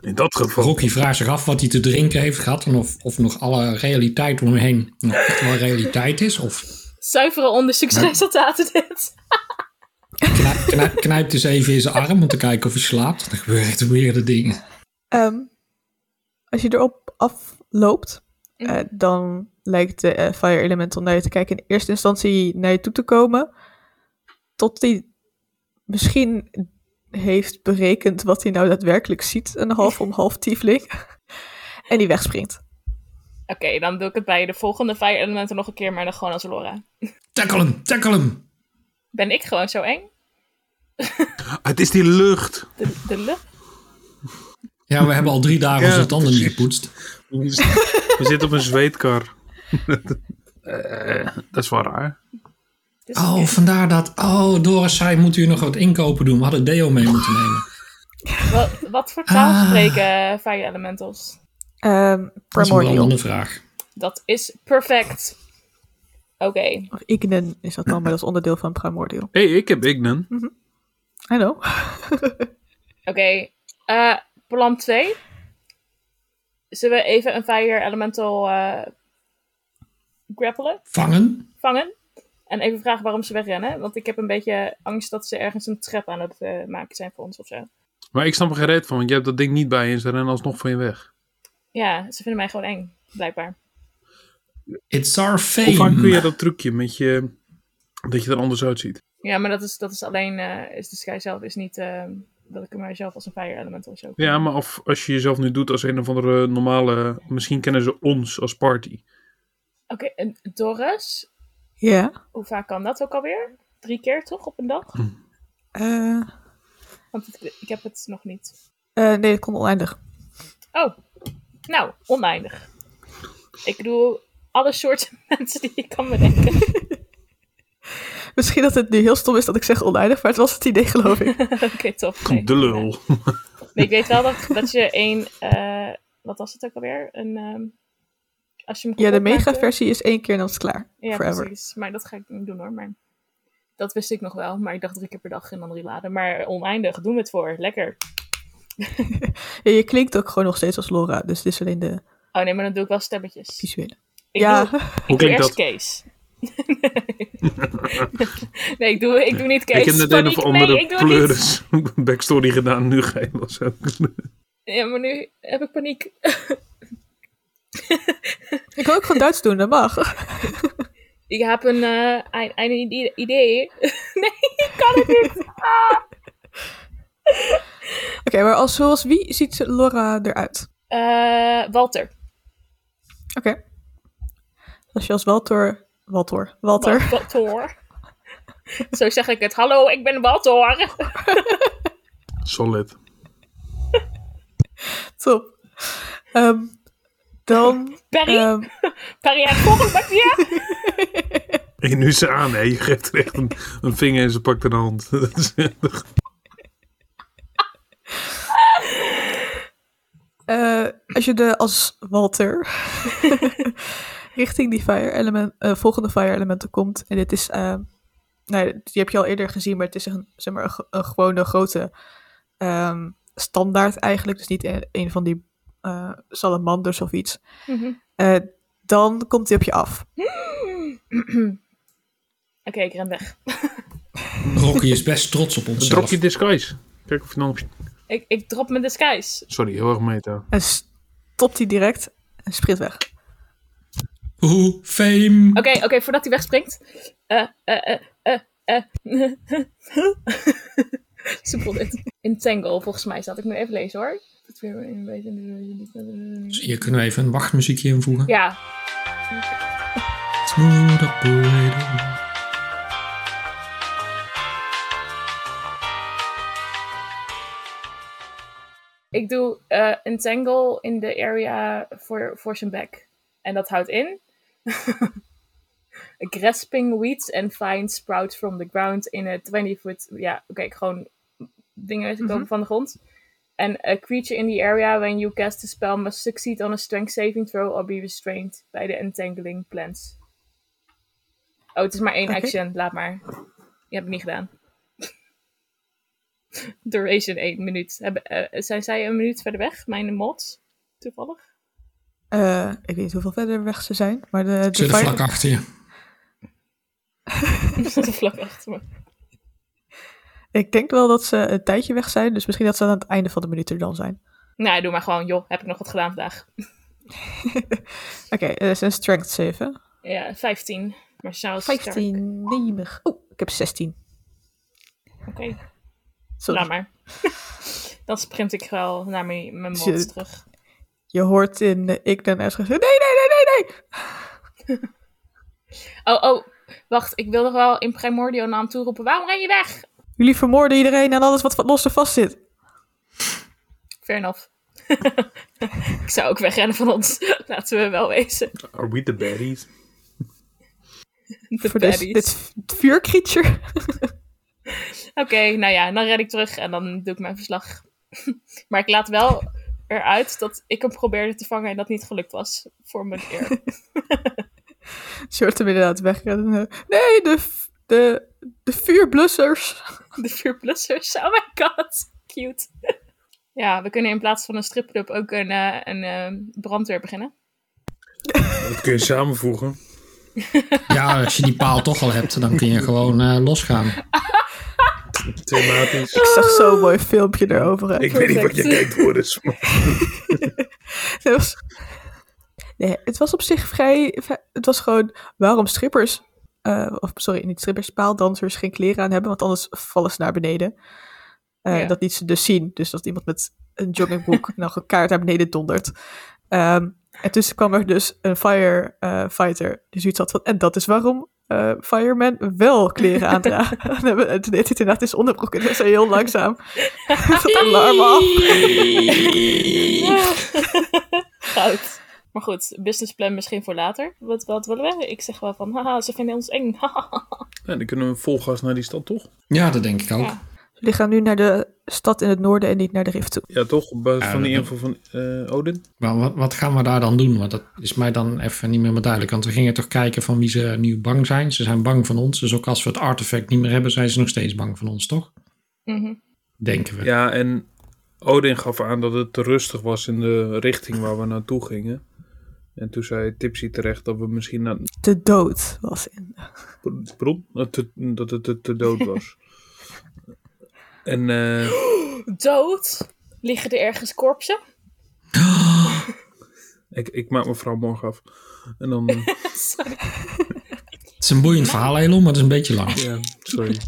F: In dat geval.
B: Rocky vraagt zich af wat hij te drinken heeft gehad en of, of nog alle realiteit om hem heen nog echt wel realiteit is. Of
D: Zuivere onderzoeksresultaten dit.
B: knij- knij- knijpt eens even in zijn arm om te kijken of hij slaapt. Dan gebeuren echt weerde dingen.
C: Ehm, als je erop afloopt, eh, dan lijkt de eh, Fire Elemental naar je te kijken in eerste instantie naar je toe te komen. Tot hij misschien heeft berekend wat hij nou daadwerkelijk ziet. Een half om half tiefling. [LAUGHS] en die wegspringt.
D: Oké, dan doe ik het bij de volgende fire elementen nog een keer, maar dan gewoon als Laura.
B: Tackle hem, tackle hem.
D: Ben ik gewoon zo eng?
F: Ah, het is die lucht.
D: De, de lucht?
B: Ja, we hebben al drie dagen
F: Ja,
B: onze tanden niet
F: precies.
B: gepoetst.
F: We zitten- [LAUGHS] we zitten op een zweetkar. [LAUGHS] Eh, dat is wel raar.
D: Dus
B: Oh, vandaar dat. Oh, Doris zei, moet u nog wat inkopen doen? We hadden deo mee moeten nemen.
D: wat, wat voor taal
B: Ah.
D: spreken Fire Elementals?
C: Ehm
B: Dat is nog wel een
C: primordial.
B: andere vraag.
D: Dat is perfect. Oké.
C: Of Ignen is dat dan, maar dat is onderdeel van primordial.
F: Hé, hey, ik heb Ignan.
C: I know.
D: Oké, eh plan 2. Zullen we even een fire elemental eh, grappelen,
B: Vangen?
D: vangen? En even vragen waarom ze wegrennen. Want ik heb een beetje angst dat ze ergens een trap aan het eh, maken zijn voor ons of zo.
F: Maar ik snap er geen reet van, want je hebt dat ding niet bij je en ze rennen alsnog van je weg.
D: Ja, ze vinden mij gewoon eng, blijkbaar.
B: It's our
F: Hoe vaak kun je
B: fame.
F: dat trucje met je, dat je er anders uitziet?
D: Ja, maar dat is, dat is alleen, eh, is de sky zelf is niet eh, dat ik mijzelf als een fire elemental zo.
F: Ja, maar of, als je jezelf nu doet als een of andere normale... Misschien kennen ze ons als party.
D: Oké, en Doris,
C: Ja.
D: hoe vaak kan dat ook alweer? Drie keer toch op een dag?
C: Eh,
D: Want het- ik heb het nog niet.
C: eh, nee, dat kon oneindig.
D: Oh, nou, oneindig. Ik bedoel, alle soorten [LAUGHS] mensen die je kan bedenken.
C: Misschien dat het nu heel stom is dat ik zeg oneindig, maar het was het idee, geloof ik.
D: Oké, tof. Nee.
F: De lul.
D: Nee, ik weet wel dat, dat je één, eh, wat was het ook alweer? Een, ehm, als je hem [LAUGHS]
C: ja, de
D: kapot maakte-
C: mega-versie is één keer en dan is het klaar.
D: Ja,
C: forever.
D: precies. Maar dat ga ik niet doen hoor. Maar dat wist ik nog wel. Maar ik dacht drie keer per dag en dan reladen. Maar oneindig, doen we het voor. Lekker.
C: Ja, je klinkt ook gewoon nog steeds als Laura, dus het is alleen de
D: Oh nee, maar dan doe ik wel stemmetjes.
C: visuele.
D: Ik
C: ja,
D: doe,
F: Hoe
D: ik doe
F: klinkt
D: eerst
F: dat?
D: Kees. [LAUGHS] nee, ik doe, ik doe niet Kees.
F: ik heb net een
D: Paniek,
F: of andere
D: nee, ik doe het niet.
F: pleuris [LAUGHS] backstory gedaan, nu ga je wel zo.
D: Ja, maar nu heb ik paniek.
C: [LAUGHS] Ik kan ook gewoon Duits doen, dat mag. [LAUGHS]
D: Ik heb een, eh, een, een ide- idee. [LAUGHS] nee, ik kan het niet.
C: Oké, maar als, zoals wie ziet ze- Laura eruit?
D: Eh, Walter.
C: Oké. Als je als Walter... Walter. Walter.
D: Wa- Walter. [LAUGHS] Zo zeg ik het. Hallo, ik ben Walter. [LAUGHS]
F: Solid.
C: Top. Ehm,
D: [LAUGHS]
C: dan...
D: Perry.
C: ehm,
D: Perry, heb volgende bakje.
F: En nu is ze aan, hè. Je geeft er echt een, een vinger en ze pakt een hand. [LAUGHS] Dat is echt-
C: Eh, als je de als Walter [LAUGHS] richting die fire element, eh, volgende fire elementen komt. En dit is, eh, nou, die heb je al eerder gezien, maar het is een, zeg maar, een, ge- een gewone grote ehm, standaard eigenlijk. Dus niet een, een van die eh, salamanders of iets.
D: Mhm.
C: Eh, dan komt die op je af.
D: [LAUGHS] Oké, ik ren weg.
B: Rocky is best trots op
F: Een
B: onszelf.
F: dropje disguise. Kijk of je dan...
D: Ik, ik drop mijn disguise.
F: Sorry, heel erg meta.
C: En stopt die direct en sprint weg.
B: Hoe fame.
D: Oké, oké, voordat hij wegspringt. Eh, eh, eh, eh, eh. [LAUGHS] Ze voelde het. Entangle, volgens mij staat. Ik moet even lezen hoor.
B: Hier kunnen we even een wachtmuziekje invoegen.
D: Ja,
B: Smooth operator.
D: ik doe eh entangle in de area voor, voor zijn bek. En dat houdt in. [LAUGHS] Grasping weeds and fine sprouts from the ground in a 20 foot. Ja, oké, gewoon dingen komen van de grond. En a creature in the area when you cast a spell must succeed on a strength saving throw or be restrained by the entangling plants. Oh, het is maar één
C: Oké.
D: action, laat maar. Je hebt het niet gedaan. [LAUGHS] Duration 1 minuut. Hebben- eh, zijn zij een minuut verder weg, mijn mods? Toevallig. [LAUGHS]
C: Eh, ik weet niet hoeveel verder weg ze zijn, maar de,
B: Ik zit
C: de
B: er
C: fire...
B: vlak achter je.
D: Ik zat er vlak achter me.
C: Ik denk wel dat ze een tijdje weg zijn, dus misschien dat ze aan het einde van de minuut er dan zijn.
D: Nou, doe maar gewoon, joh. Heb ik nog wat gedaan vandaag?
C: Oké, eh, dat is een strength 7.
D: Ja, 15. Maar Sjaal is sterk.
C: 15, 9. Oh, ik heb 16.
D: Oké,
C: Sorry.
D: laat maar. [LAUGHS] Dan sprint ik wel naar mijn, mijn mods
C: Shit.
D: terug.
C: Je hoort in eh, ik dan ergens nee, nee, nee, nee, nee.
D: Oh, oh. wacht, ik wil nog wel in Primordio naam toeroepen. Waarom ren je weg?
C: Jullie vermoorden iedereen en alles wat wat los en vast zit.
D: Fair enough. [LAUGHS] ik zou ook wegrennen van ons. [LAUGHS] Laten we wel wezen.
F: Are we the baddies?
D: De
C: Voor dit,
D: baddies.
C: dit v- vuurcreature. [LAUGHS]
D: Oké, nou ja, dan ren ik terug en dan doe ik mijn verslag. [LAUGHS] maar ik laat wel eruit dat ik hem probeerde te vangen en dat niet gelukt was. Voor mijn eer.
C: Short hem inderdaad wegrennen. Nee, de, v- de, de vuurblussers.
D: [LAUGHS] De vuurplussers. Oh my god. Cute. [LAUGHS] ja, we kunnen in plaats van een stripclub ook een, eh, een eh, brandweer
C: [LAUGHS]
D: beginnen.
F: Dat kun je samenvoegen.
B: Ja, als je die paal toch al hebt, dan kun je gewoon eh, losgaan.
F: Thematisch.
D: [LAUGHS]
C: Ik zag
D: Ah.
C: zo'n mooi filmpje erover. hè.
F: Ik weet niet wat je
D: Oh, Perfect.
F: kijkt, dus. [LAUGHS] Boris. maar-
C: [LAUGHS] Het was- Nee, het was op zich vrij... vrij- Het was gewoon, waarom strippers... eh, of sorry, niet strippers, paaldansers geen kleren aan hebben, want anders vallen ze naar beneden. Eh,
D: Ja.
C: Dat liet ze dus zien. Dus dat iemand met een joggingbroek nog een kaart naar beneden dondert. Ehm, en tussen kwam er dus een firefighter die zoiets had van... En dat is waarom eh firemen wel kleren aandragen. En hebben- en toen deed hij het inderdaad in zijn onderbroek en dat is heel langzaam. [LAUGHS] dat alarm af.
D: [LAUGHS] Goud. Maar goed, businessplan misschien voor later. Wat, wat willen we? Ik zeg wel van, haha, ze vinden ons eng. [LAUGHS]
F: Ja, dan kunnen we vol gas naar die stad, toch?
B: Ja, dat denk ik ook.
D: Ja.
C: Jullie gaan nu naar de stad in het noorden en niet naar de rift toe.
F: Ja, toch? Op basis
B: Ja,
F: van die
B: dat-
F: info van eh, Odin.
B: Maar wat, wat gaan we daar dan doen? Want dat is mij dan even niet meer duidelijk. Want we gingen toch kijken van wie ze nu bang zijn. Ze zijn bang van ons. Dus ook als we het artefact niet meer hebben, zijn ze nog steeds bang van ons, toch?
D: Mhm.
B: Denken we.
F: Ja, en Odin gaf aan dat het te rustig was in de richting waar we naartoe gingen. En toen zei Tipsy terecht dat we misschien naar,
C: De dood was in.
F: bron, dat het dat het te, te dood was. en eh,
D: Dood. Liggen er ergens korpsen?
F: ik, ik maak mijn vrouw morgen af. En dan, eh,
D: Sorry.
B: Het is een boeiend verhaal, Elon, maar het is een beetje lang.
F: ja, sorry.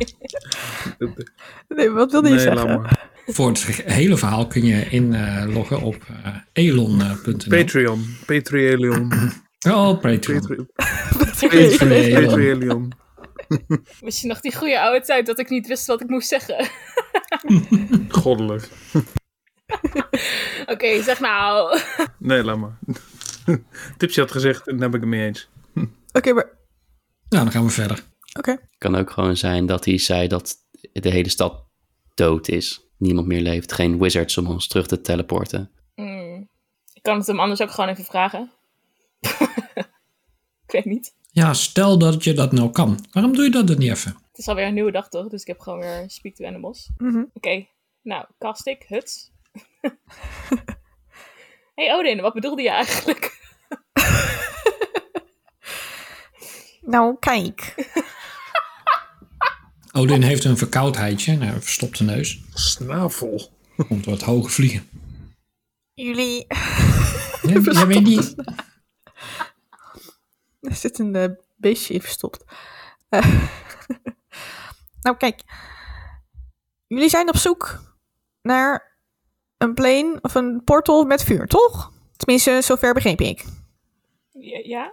F: Dat-
C: Nee, wat wilde je
F: nee, laat
C: zeggen?
F: maar.
B: Voor het hele verhaal kun je inloggen op eh, elon.nl.
F: Patreon. Patreon.
B: oh, Patreon.
F: Patreon.
B: Patreon.
F: Patreon.
D: Wist je nog die goede oude tijd dat ik niet wist wat ik moest zeggen?
F: Goddelijk.
D: [LAUGHS] Oké, zeg nou.
F: Nee, laat maar. [LAUGHS] Tipsy had gezegd, en daar ben ik het mee eens.
C: Oké, maar.
B: Nou, dan gaan we verder.
C: Oké.
E: kan ook gewoon zijn dat hij zei dat de hele stad dood is. Niemand meer leeft. Geen wizards om ons terug te teleporten.
D: Hmm. Ik kan het hem anders ook gewoon even vragen. [LAUGHS] ik weet niet.
B: Ja, stel dat je dat nou kan. Waarom doe je dat dan niet even?
D: Het is alweer een nieuwe dag toch, dus ik heb gewoon weer Speak to Animals.
C: Mhm.
D: Oké, nou, cast ik, huts. [LAUGHS] hey Odin, wat bedoelde je eigenlijk?
C: Nou, kijk.
B: Odin heeft een verkoudheidje. Nou, een verstopte neus.
F: Snavel.
B: Komt door het hoge vliegen.
F: [LAUGHS]
C: Jullie.
B: Ja, jij weet niet.
C: Er zit een eh, beestje in verstopt. [LAUGHS] Eh, nou, kijk. Jullie zijn op zoek naar een plane of een portal met vuur, toch? Tenminste, zover begreep ik.
D: Ja? ja?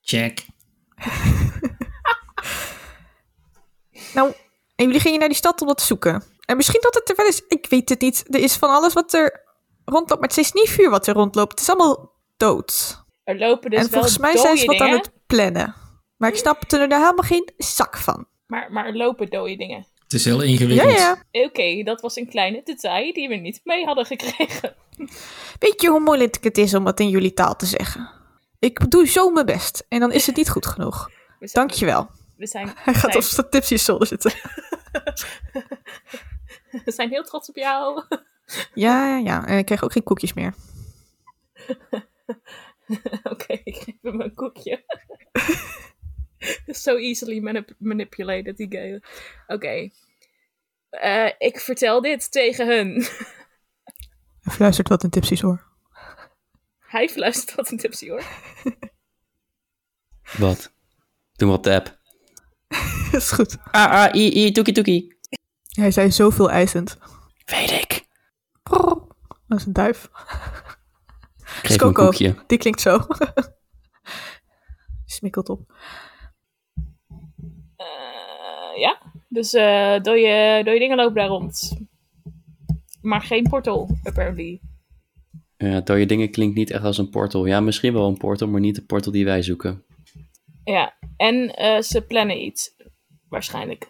B: Check.
C: Nou, en jullie gingen naar die stad om dat te zoeken. En misschien dat het er wel is. Ik weet het niet. Er is van alles wat er rondloopt, maar het is niet vuur wat er rondloopt. Het is allemaal dood.
D: Er lopen dus
C: en volgens
D: wel
C: mij
D: dode
C: zijn ze wat aan
D: dingen,
C: het plannen. Maar ik snap er daar helemaal geen zak van.
D: maar, maar er lopen dode dingen.
B: Het is heel
C: Ja,
B: ingewikkeld.
C: ja.
D: Oké, dat was een kleine detail die we niet mee hadden gekregen.
C: Weet je hoe moeilijk het is om het in jullie taal te zeggen? Ik doe zo mijn best en dan is het niet goed genoeg.
D: We zijn,
C: Dankjewel.
D: We zijn, [LAUGHS]
C: Hij gaat
D: zijn-
C: op zijn tipsjes zolder zitten. [LAUGHS]
D: we zijn heel trots op jou. [LAUGHS]
C: Ja, ja, ja. En ik krijg ook geen koekjes meer.
D: Oké, ik geef hem een koekje. [LAUGHS] so easily manip- manipulated, die guy. Oké. Eh, ik vertel dit tegen hun.
C: Hij fluistert wat in tipsjes hoor.
D: Hij fluistert wat een tipsy hoor.
E: Wat? Doen we op de app.
C: [LAUGHS] Dat is goed.
E: Ah, ah, i, i, toekie, toekie.
C: Hij zei zoveel eisend.
E: Weet ik.
C: Prrr. Dat is een duif.
E: Ik geef hem een
C: Skoko. [LAUGHS]
E: koekje.
C: Die klinkt zo. Smikkelt op.
D: ja, dus eh doe, je, doe je dingen lopen daar rond. Maar geen portal, apparently.
E: Ja, door je dingen klinkt niet echt als een portal. Ja, misschien wel een portal, maar niet de portal die wij zoeken.
D: Ja, en eh, ze plannen iets. Waarschijnlijk.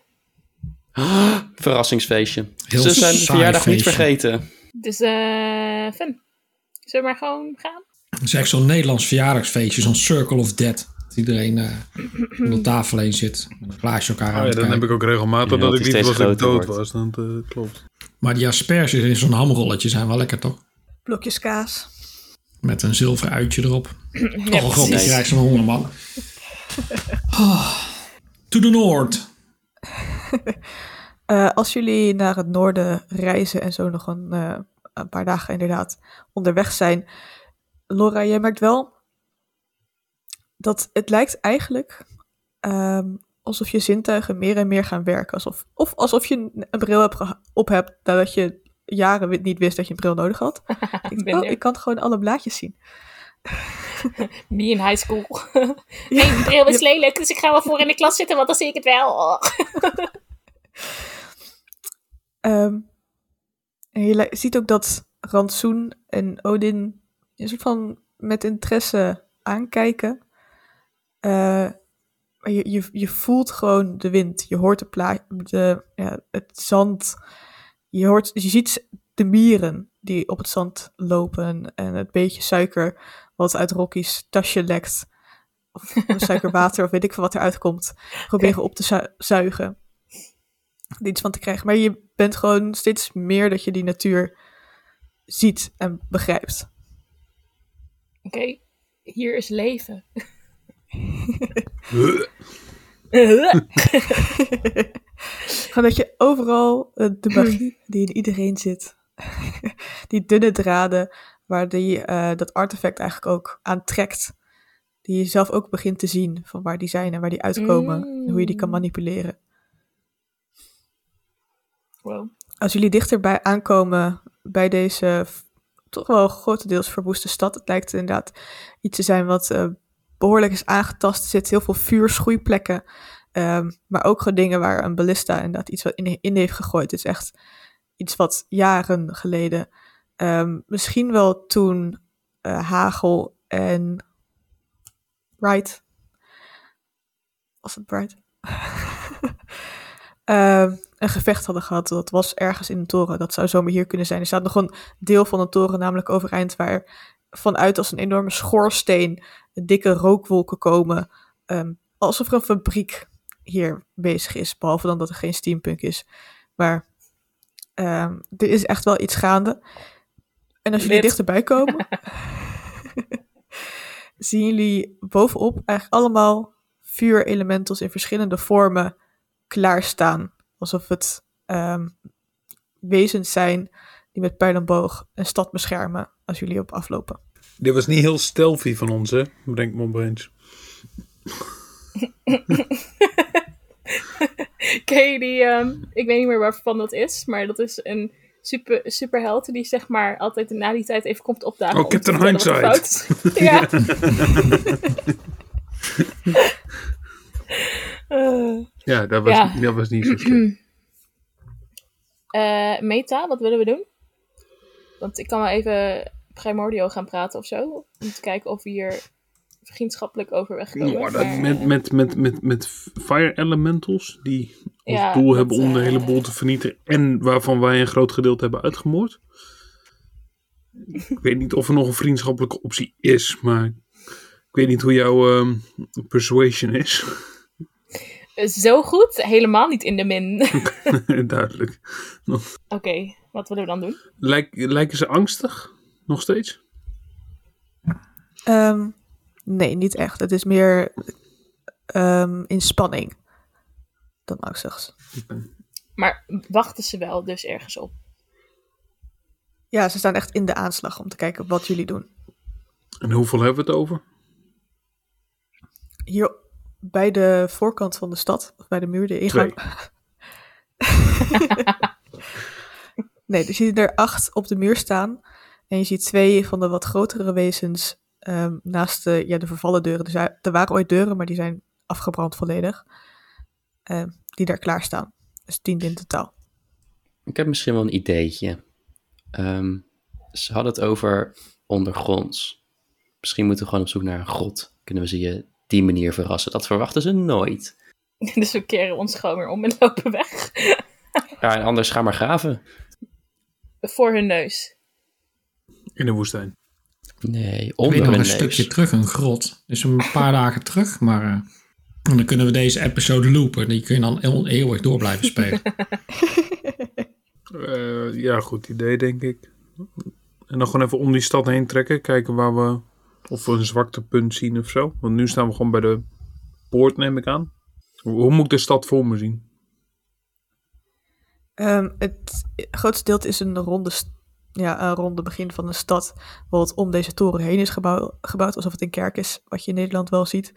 E: Verrassingsfeestje.
B: Heel
E: Ze zijn de
B: saai
E: verjaardag niet
B: feestje.
E: vergeten.
D: Dus eh Fun. Zullen we maar gewoon gaan?
B: Het is echt zo'n Nederlands verjaardagsfeestje, zo'n Circle of Dead. Dat iedereen eh om de tafel heen zit. Met een glaasje elkaar aan
F: Oh ja,
B: het
F: dan heb
B: kijken.
F: ik ook regelmatig
E: Ja, dat
F: dat ik
E: die
F: niet
E: steeds
F: was dat ik
E: groter
F: dood
E: wordt.
F: was. Dat eh, klopt.
B: Maar die asperges in zo'n hamrolletje zijn wel lekker, toch?
C: Blokjes kaas.
B: Met een zilver uitje erop.
D: Ja,
B: oh god, ik
E: precies.
B: krijg zo'n honger, man. Ah, to the Noord.
C: Eh, als jullie naar het noorden reizen en zo nog een, eh, een paar dagen inderdaad onderweg zijn. Laura, jij merkt wel dat het lijkt eigenlijk ehm, alsof je zintuigen meer en meer gaan werken. Alsof, of alsof je een- een bril hebt geha- op hebt nadat je jaren wi- niet wist dat je een bril nodig had. Ik denk,
D: Minder.
C: oh, ik kan gewoon alle blaadjes zien.
D: Me in high school. [LAUGHS] Mijn bril is lelijk, dus ik ga wel voor in de klas zitten, want dan zie ik het wel. Oh.
C: Ehm, en je li- ziet ook dat Rantsoen en Odin een soort van met interesse aankijken. Eh, maar je, je, je voelt gewoon de wind. Je hoort de pla de, ja, het zand. Je, hoort, je ziet de mieren die op het zand lopen. En het beetje suiker wat uit Rocky's tasje lekt. Of suikerwater of weet ik veel wat eruit komt. Proberen op te zu- zuigen er iets van te krijgen. Maar je bent gewoon steeds meer dat je die natuur ziet en begrijpt.
D: [LAUGHS] Oké, hier is leven. [LAUGHS]
C: Gewoon dat je overal eh, de magie die in iedereen zit, [LAUGHS] die dunne draden waar die, eh, dat artefact eigenlijk ook aantrekt, die je zelf ook begint te zien van waar die zijn en waar die uitkomen en hoe je die kan
D: Mm.
C: manipuleren.
D: wow.
C: als jullie dichterbij aankomen bij deze v- toch wel grotendeels verwoeste stad. Het lijkt inderdaad iets te zijn wat eh, behoorlijk is aangetast. Er zitten heel veel vuurschoeiplekken. ehm, maar ook gewoon dingen waar een ballista inderdaad iets wat in, in heeft gegooid. Het is echt iets wat jaren geleden. ehm, misschien wel toen eh, Hagel en Wright. Was het Bright? Ehm, een gevecht hadden gehad. Dat was ergens in een toren. Dat zou zomaar hier kunnen zijn. Er staat nog een deel van een toren, namelijk overeind, waar vanuit als een enorme schoorsteen dikke rookwolken komen. Ehm, alsof er een fabriek hier bezig is. Behalve dan dat er geen steampunk is. Maar ehm, er is echt wel iets gaande. En als jullie
D: Lid.
C: dichterbij komen, [LAUGHS] zien jullie bovenop eigenlijk allemaal vuurelementals in verschillende vormen klaarstaan. Alsof het ehm, wezens zijn die met pijl en boog een stad beschermen als jullie op aflopen.
F: Dit was niet heel stealthy van ons, hè? Bedenk me opeens.
D: Oké, die, ehm, ik weet niet meer waarvan dat is, maar dat is een super, superheld die zeg maar altijd na die tijd even komt opdagen.
F: Oh,
D: om te
F: Captain
D: vertellen wat er
F: Hindsight.
D: fout is. ja. Eh,
F: Ja, dat was,
D: [LAUGHS] Ja.
F: Dat was niet zo slecht.
D: eh, meta, wat willen we doen? Want ik kan wel even primordial gaan praten of zo. Om te kijken of we hier vriendschappelijk overweg komen.
F: Ja, dat-
D: Maar,
F: met, met, met, met, met fire elementals die als
D: Ja,
F: doel
D: dat,
F: hebben om de
D: eh,
F: hele boel te vernietigen en waarvan wij een groot gedeelte hebben uitgemoord. ik weet niet of er nog een vriendschappelijke optie is, maar ik weet niet hoe jouw ehm, persuasion is. [LAUGHS]
D: eh, Zo goed? Helemaal niet in de min. [LAUGHS] Oké,
F: Duidelijk.
D: wat willen we dan doen?
F: Lijk, lijken ze angstig? Nog steeds?
C: Ehm, nee, niet echt. Het is meer ehm, in spanning dan angstig.
D: Maar wachten ze wel dus ergens op?
C: Ja, ze staan echt in de aanslag om te kijken wat jullie doen.
F: En hoeveel hebben we het over?
C: Hier bij de voorkant van de stad, of bij de muur, de ingang. [LAUGHS] nee, dus je ziet er acht op de muur staan. En je ziet twee van de wat grotere wezens ehm, naast de, ja, de vervallen deuren. Dus er er waren ooit deuren, maar die zijn afgebrand volledig. eh, die daar klaarstaan. Dus tien in totaal.
E: Ik heb misschien wel een ideetje. Ehm, ze hadden het over ondergronds. Misschien moeten we gewoon op zoek naar een grot. Kunnen we ze je die manier verrassen? Dat verwachten ze nooit.
D: [LAUGHS] Dus we keren ons gewoon weer om en lopen weg. [LAUGHS]
E: Ja, en anders ga maar graven.
D: Voor hun neus.
F: In de woestijn.
E: Nee,
B: Ik
E: onder
B: weet nog
E: hun
B: een
E: neus.
B: stukje terug, een grot. Dus een paar dagen terug, maar eh, en dan kunnen we deze episode loopen. Die kun je dan eeuw- eeuwig door blijven spelen.
F: Eh, ja, goed idee, denk ik. En dan gewoon even om die stad heen trekken. Kijken waar we... Of we een zwaktepunt zien of zo. Want nu staan we gewoon bij de poort, neem ik aan. Hoe, hoe moet ik de stad voor me zien?
C: Ehm, het grootste deel is een ronde, st- ja, een ronde begin van een stad. Wat om deze toren heen is gebouw- gebouwd, alsof het een kerk is, wat je in Nederland wel ziet.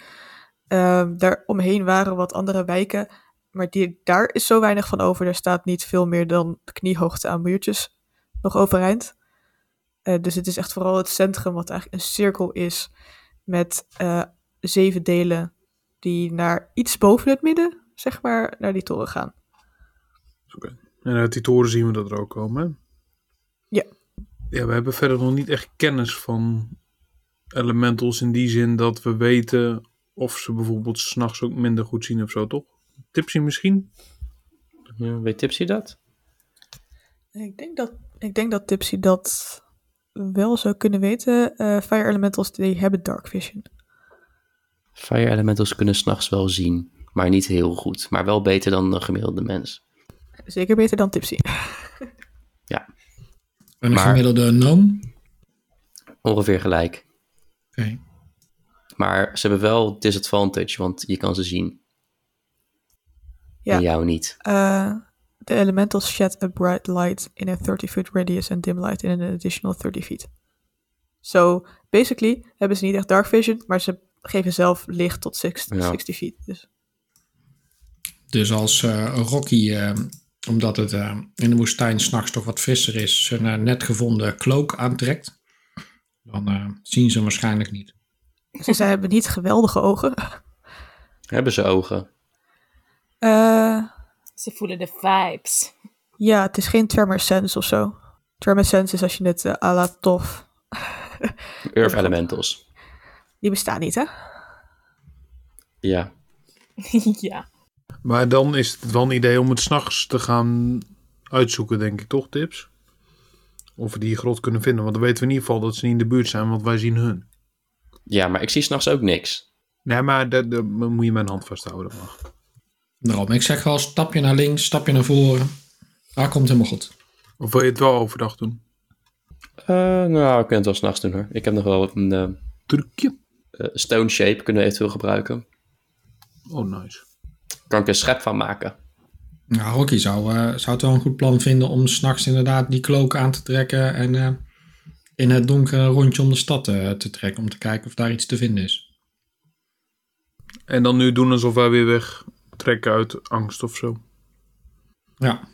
C: Ehm daar omheen waren wat andere wijken. Maar die, daar is zo weinig van over. Er staat niet veel meer dan kniehoogte aan muurtjes nog overeind. Eh, dus het is echt vooral het centrum, wat eigenlijk een cirkel is. Met eh, zeven delen die naar iets boven het midden, zeg maar, naar die toren gaan.
F: En uit die toren zien we dat er ook komen. hè?
C: Ja.
F: Ja, we hebben verder nog niet echt kennis van elementals in die zin dat we weten of ze bijvoorbeeld s'nachts ook minder goed zien of zo, toch? Tipsy misschien?
E: Ja, weet Tipsy dat?
C: Ik denk dat, ik denk dat Tipsy dat wel zou kunnen weten. Eh, fire Elementals, die hebben Dark Vision.
E: Fire elementals kunnen s'nachts wel zien, maar niet heel goed. Maar wel beter dan een gemiddelde mens.
C: Zeker beter dan Tipsy.
B: En een
E: Maar-
B: gemiddelde noom.
E: Ongeveer gelijk.
B: Oké.
E: Maar ze hebben wel disadvantage, want je kan ze zien.
C: Ja.
E: En jou niet.
C: Eh, De Elementals shed a bright light in a 30-foot radius and dim light in an additional 30 feet. So, basically hebben ze niet echt Dark Vision, maar ze geven zelf licht tot 60,
E: Ja.
C: 60 feet. Dus
B: Dus als eh, Rocky, eh, omdat het eh, in de woestijn s'nachts toch wat frisser is, zijn eh, net gevonden cloak aantrekt, dan eh, zien ze hem waarschijnlijk niet.
C: ze zij hebben niet geweldige ogen.
E: Hebben ze ogen?
C: Eh,
D: Ze voelen de vibes. [LAUGHS]
C: ja, het is geen Tremor Sense of zo. Tremor Sense is als je het eh, à la tof.
E: Earth elementals.
C: Die bestaan niet, hè?
E: Ja.
D: ja.
F: Maar dan is het wel een idee om het s'nachts te gaan uitzoeken, denk ik, toch, Tips? Of we die grot kunnen vinden, want dan weten we in ieder geval dat ze niet in de buurt zijn, want wij zien hun.
E: Ja, maar ik zie s'nachts ook niks.
F: Nee, maar daar daar moet je mijn hand vasthouden, dat mag.
B: Daarom, ik zeg wel stapje naar links, stapje naar voren. Daar komt helemaal goed.
F: Of wil je het wel overdag doen?
E: Eh, nou, ik kan het wel s'nachts doen hoor. Ik heb nog wel een eh,
F: Trucje.
E: eh, stone shape kunnen we eventueel gebruiken.
F: Oh, nice.
E: Kan ik een schep van maken.
B: Nou, Rocky zou, eh, zou het wel een goed plan vinden om s'nachts inderdaad die cloak aan te trekken en eh, in het donker een rondje om de stad eh, te trekken om te kijken of daar iets te vinden is.
F: En dan nu doen alsof wij weer weg trekken uit angst of zo.
B: Ja.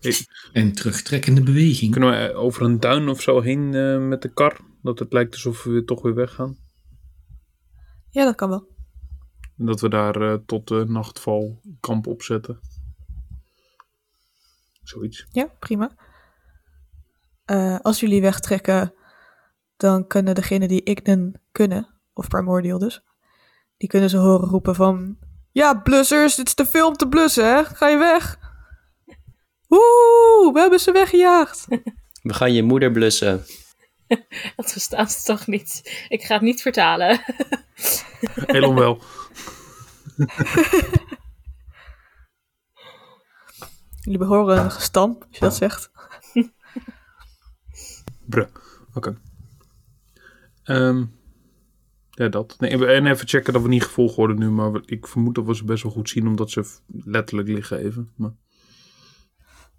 F: Ik-
B: En terugtrekkende beweging.
F: Kunnen we eh, over een duin of zo heen eh, met de kar? Dat het lijkt alsof we weer- toch weer weggaan.
C: Ja, dat kan wel.
F: En dat we daar eh, tot de nachtval kamp opzetten. Zoiets.
C: Ja, prima. Eh, als jullie wegtrekken, dan kunnen degenen die Ignan kunnen, of Primordial dus, die kunnen ze horen roepen van... Ja, blussers, dit is te veel om te blussen, hè? Ga je weg? Woe, we hebben ze weggejaagd.
E: We gaan je moeder blussen.
D: Dat verstaan ze toch niet. Ik ga het niet vertalen. [LAUGHS]
F: Elon wel.
C: Jullie behoren een gestamp, als je dat zegt.
F: Bruh. Oké. Ehm, ja, dat. Nee, we- en even checken dat we niet gevolgd worden nu. Maar we- ik vermoed dat we ze best wel goed zien. Omdat ze f- letterlijk liggen even. Maar...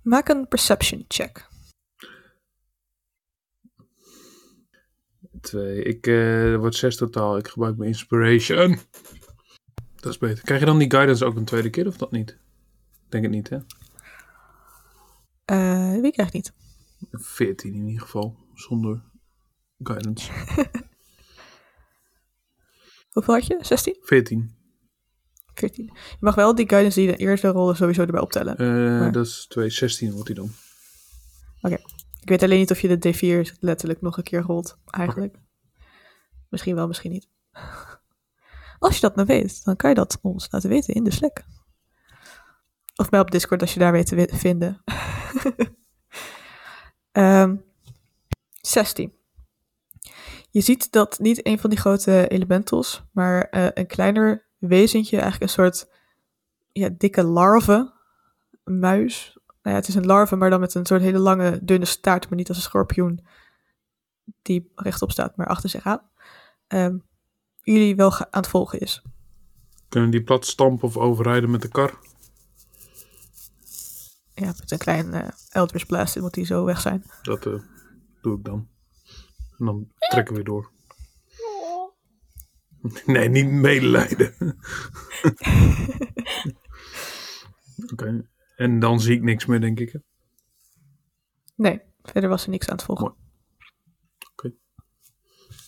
C: Maak een perception check.
F: Twee. Ik eh, er wordt zes totaal. Ik gebruik mijn inspiration. Dat is beter. Krijg je dan die guidance ook een tweede keer of dat niet? Denk het niet, hè?
C: Eh wie krijgt niet?
F: Veertien in ieder geval. Zonder guidance.
C: Hoeveel had je? 16?
F: Veertien.
C: 14. Je mag wel die guidance die je de eerste rollen sowieso erbij optellen.
F: Eh, Dat is 216 wordt hij dan.
C: Ik weet alleen niet of je de D4 letterlijk nog een keer rolt, eigenlijk. Misschien wel, misschien niet. [LAUGHS] Als je dat nou weet, dan kan je dat ons laten weten in de Slack. Of mij op Discord als je daar weet te wi- vinden. [LAUGHS] Ehm 16. Je ziet dat niet een van die grote elementals, maar eh, een kleiner wezentje, eigenlijk een soort ja, dikke larve, een muis, nou ja, het is een larve, maar dan met een soort hele lange, dunne staart, maar niet als een schorpioen die rechtop staat, maar achter zich aan. Ehm, jullie wel ge- aan het volgen is.
F: Kunnen die plat stampen of overrijden met de kar?
C: Ja, met een klein eh Eldritch Blast moet die zo weg zijn.
F: Dat eh, doe ik dan. En dan trekken we weer door. [LAUGHS] Nee, niet medelijden. [LAUGHS] Oké, en dan zie ik niks meer, denk ik. hè?
C: Nee, verder was er niks aan het volgen.
F: Mooi.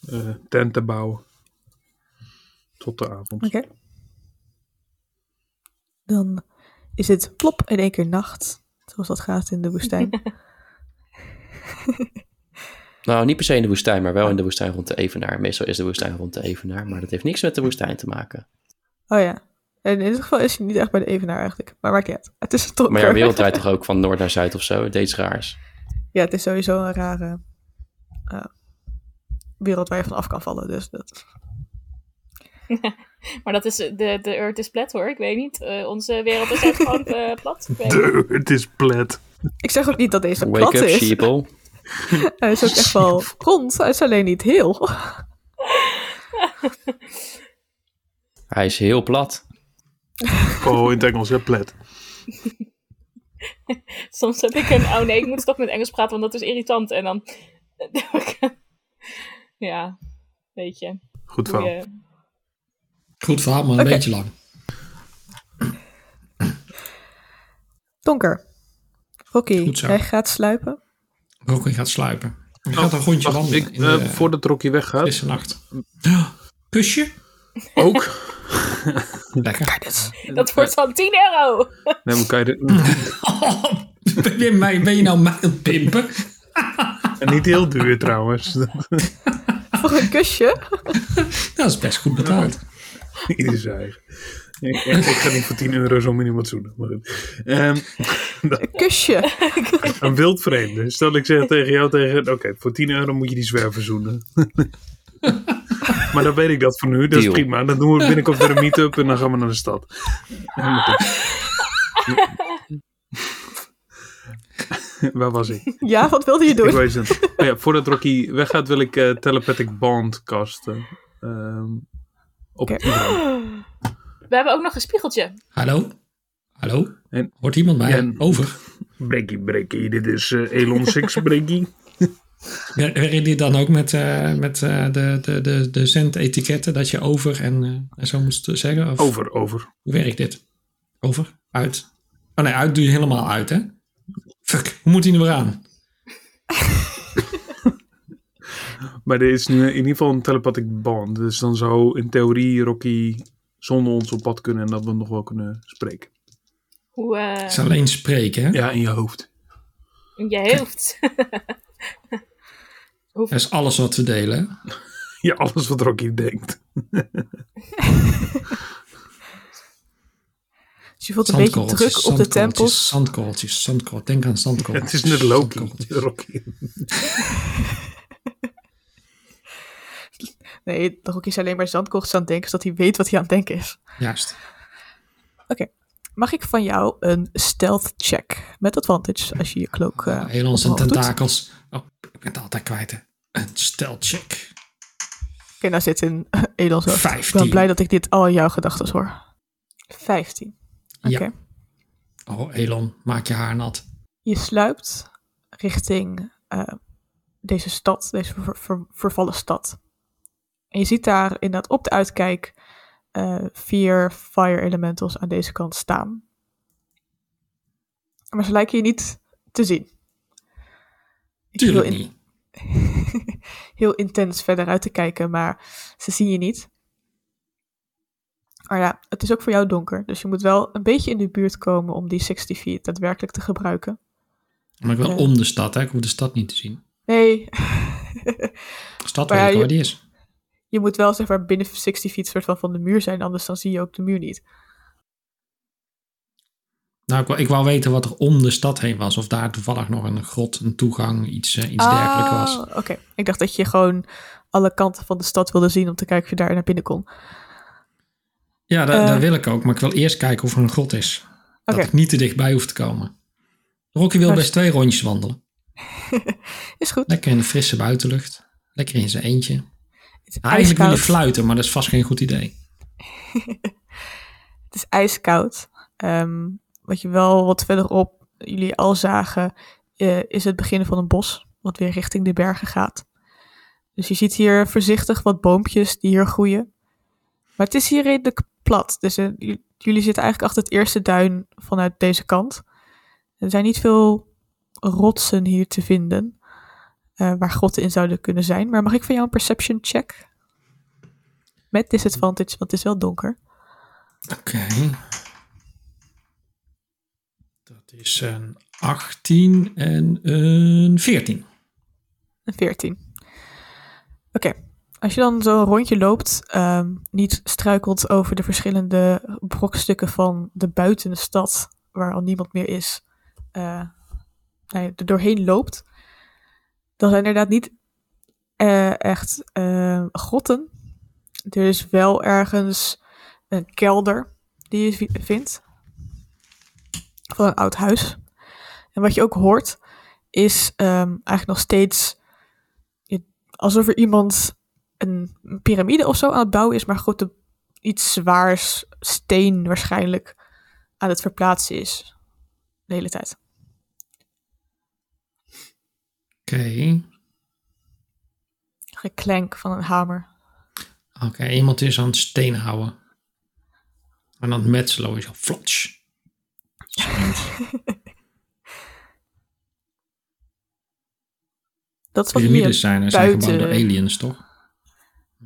F: Eh, tenten bouwen. Tot de avond.
C: Oké. Dan is het plop in één keer nacht, zoals dat gaat in de woestijn.
E: [LAUGHS] Nou, niet per se in de woestijn, maar
C: Ah.
E: wel in de woestijn rond de Evenaar. Meestal is de woestijn rond de Evenaar, maar dat heeft niks met de woestijn te maken.
C: oh ja. En in dit geval is je niet echt bij de evenaar eigenlijk. Maar maakt niet uit. Het is toch
E: Maar ja, de wereld draait toch ook van noord naar zuid of zo? Deed iets raars.
C: ja, het is sowieso een rare eh, wereld waar je van af kan vallen. Dus dat...
D: Maar dat is, de, de Earth is plat hoor, ik weet niet. Eh, onze wereld is echt gewoon eh, plat. Ik weet niet.
F: De, [LAUGHS] het is plat.
C: Ik zeg ook niet dat deze plat
E: Wake up,
C: is.
E: sheeple.
C: Hij is ook echt
E: [LAUGHS]
C: wel rond. Hij is alleen niet heel.
E: Hij is heel plat.
F: Oh, in het Engels, hè, plat.
D: Soms heb ik een, oh nee, ik moet toch met Engels praten, want dat is irritant. En dan, [LAUGHS] ja, weet je. eh,
F: Goed
D: Hoe
F: verhaal.
D: je-
B: Goed verhaal, maar een
C: Oké.
B: beetje lang.
C: Donker. Rocky,
B: Goed zo.
C: hij gaat sluipen.
B: Rocky gaat sluipen. Hij
F: Oh,
B: gaat een rondje
F: Wacht,
B: wandelen
F: ik,
B: in
F: eh,
B: de
F: voordat Rocky weggaat,
B: frisse nacht. Oh, Kusje?
F: ook.
B: Lekker.
D: Dat wordt dan 10 euro.
F: Nee, maar kan je dit-
B: [LAUGHS] Oh, ben, je mij, ben je nou mij aan het pimpen?
F: en niet heel duur trouwens.
C: Voor een kusje.
B: Dat is best goed betaald.
F: Ieder zijn eigen. Ik, ik, ik ga niet voor 10 euro zo'n mini-matsoen. Maar goed. Ehm,
C: Een kusje.
F: een wild vreemde. Stel ik zeg tegen jou tegen... Oké, voor 10 euro moet je die zwerver zoenen. [LAUGHS] maar dan weet ik dat voor nu. Dat is
E: Deal.
F: prima. Dan doen we binnenkort weer een meet-up en dan gaan we naar de stad. Helemaal goed. [LAUGHS] Waar was ik?
C: Ja, wat wilde je
F: Ik
C: doen?
F: weet het. niet. Oh ja, voordat Rocky weggaat wil ik eh, Telepathic Bond casten. Ehm, op
C: Oké.
F: iedereen.
D: We hebben ook nog een spiegeltje.
B: Hallo? Hallo?
F: En-
B: Hoort iemand mij?
F: Ja, en-
B: Over.
F: Breaky, breaky, dit is eh, Elon [LAUGHS] 6 breaky.
B: Wer- Werken die dan ook met, eh, met eh, de, de, de, de zendetiketten dat je over en, eh, en zo moest zeggen? Of
F: Over, over.
B: Hoe werkt dit? Over? Uit? Oh nee, uit doe je helemaal uit, hè? Fuck, hoe moet hij nou weer aan?
F: Maar er is nu in ieder geval een telepathic band. Dus dan zou in theorie Rocky zonder ons op pad kunnen en dat we hem nog wel kunnen spreken.
D: Hoe, eh,
B: Het is alleen spreken, hè?
F: Ja, in je hoofd.
D: in je hoofd. [LAUGHS]
B: Dat is alles wat we delen. hè?
F: [LAUGHS] Ja, alles wat Rocky denkt.
C: Dus je voelt een beetje
B: Zandkorreltjes,
C: druk op de
B: zandkorreltjes,
C: tempels.
B: Zandkorreltjes, zandkorreltjes. Denk aan
F: [LAUGHS] [LAUGHS] Het
B: zandkorreltjes.
F: is net Loki,
B: Zandkorreltjes.
F: Rocky.
C: Nee, de Rocky is alleen maar zandkorrels aan het denken, zodat hij weet wat hij aan het denken is.
B: Juist.
C: Mag ik van jou een stealth check? Met advantage, als je je cloak eh,
B: Elon zijn
C: omhoog doet.
B: tentakels. Oh, ik ben het altijd kwijt. hè. Een stelcheck.
C: Oké, nou zit in [LAUGHS] Elon's hoofd. Ik ben
B: 15.
C: wel blij dat ik dit al in jouw gedachten hoor. 15. Oké.
B: Ja. Oh, Elon, maak je haar nat.
C: Je sluipt richting eh, deze stad, deze ver- ver- vervallen stad. En je ziet daar inderdaad op de uitkijk eh, vier fire elementals aan deze kant staan. Maar ze lijken je niet te zien. Ik wil
B: Tuurlijk
C: in-
B: niet.
C: [LAUGHS] heel intens verder uit te kijken, maar ze zien je niet. Maar ja, het is ook voor jou donker, dus je moet wel een beetje in de buurt komen om die 60 feet daadwerkelijk te gebruiken.
B: Maar wel
C: Ja.
B: om de stad, hè? Ik hoef de stad niet te zien.
C: Nee, [LAUGHS]
B: De stad
C: Maar
B: weet
C: ja,
B: ik wel
C: je-
B: waar die is.
C: je moet wel zeg maar binnen 60 feet soort van van de muur zijn, anders dan zie je ook de muur niet.
B: Nou, ik wou, ik wou weten wat er om de stad heen was. Of daar toevallig nog een grot, een toegang, iets, eh, iets dergelijks was.
C: Ah, Oké, ik dacht dat je gewoon alle kanten van de stad wilde zien om te kijken of je daar naar binnen kon.
B: Ja, daar,
C: Eh.
B: daar wil ik ook. Maar ik wil eerst kijken of er een grot is.
C: Oké.
B: Dat ik niet te dichtbij hoef te komen. Rocky wil
C: Maar-
B: best twee rondjes wandelen.
C: Is goed.
B: Lekker in de frisse buitenlucht. Lekker in zijn eentje.
C: Het is
B: Eigenlijk wil je
C: ijskoud.
B: fluiten, maar dat is vast geen goed idee.
C: Het is ijskoud. Ehm, wat je wel wat verderop jullie al zagen, eh, is het begin van een bos, wat weer richting de bergen gaat. Dus je ziet hier voorzichtig wat boompjes die hier groeien. Maar het is hier redelijk plat. Dus eh, j- jullie zitten eigenlijk achter het eerste duin vanuit deze kant. Er zijn niet veel rotsen hier te vinden eh, waar grotten in zouden kunnen zijn. Maar mag ik van jou een perception check? Met disadvantage, want het is wel donker.
B: Oké. Dat is een 18 en een 14.
C: Een 14. Oké. Als je dan zo'n rondje loopt, ehm, niet struikelt over de verschillende brokstukken van de buitenstad, waar al niemand meer is, eh, nou ja, er doorheen loopt, dan zijn er inderdaad niet eh, echt eh, grotten. Er is wel ergens een kelder die je vi- vindt van een oud huis. En wat je ook hoort, is ehm, eigenlijk nog steeds je- alsof er iemand een, een piramide of zo aan het bouwen is, maar goed, de- iets zwaars, steen waarschijnlijk, aan het verplaatsen is. De hele tijd.
B: Oké.
C: Geklank van een hamer.
B: Oké, iemand is aan het steen houden. En aan het metselen is al flats.
C: Dat is wat
B: Pyramides
C: hier.
B: zijn, er zijn gebouwd door
C: buiten-
B: aliens, toch?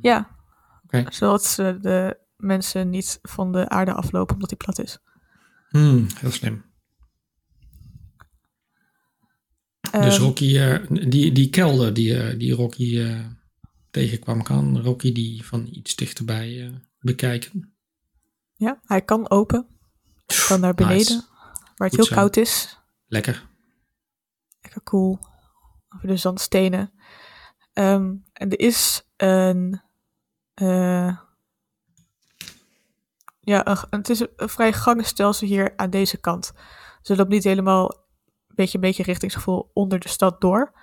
C: Ja.
B: Oké.
C: Zodat ze de mensen niet van de aarde aflopen omdat die plat is.
B: Hmm, heel slim. dus
C: Ehm,
B: Rocky, eh, die, die kelder die, eh, die Rocky eh, tegenkwam, kan Rocky die van iets dichterbij eh, bekijken?
C: ja, hij kan open. Hij kan naar
B: Nice.
C: beneden. Waar
B: Goed
C: het heel
B: zo.
C: koud is.
B: Lekker.
C: Lekker cool. Over de zandstenen. Ehm, en er is een. eh, ja, een, het is een vrij gangenstelsel hier aan deze kant. Dus het loopt niet helemaal een beetje, een beetje richtingsgevoel onder de stad door.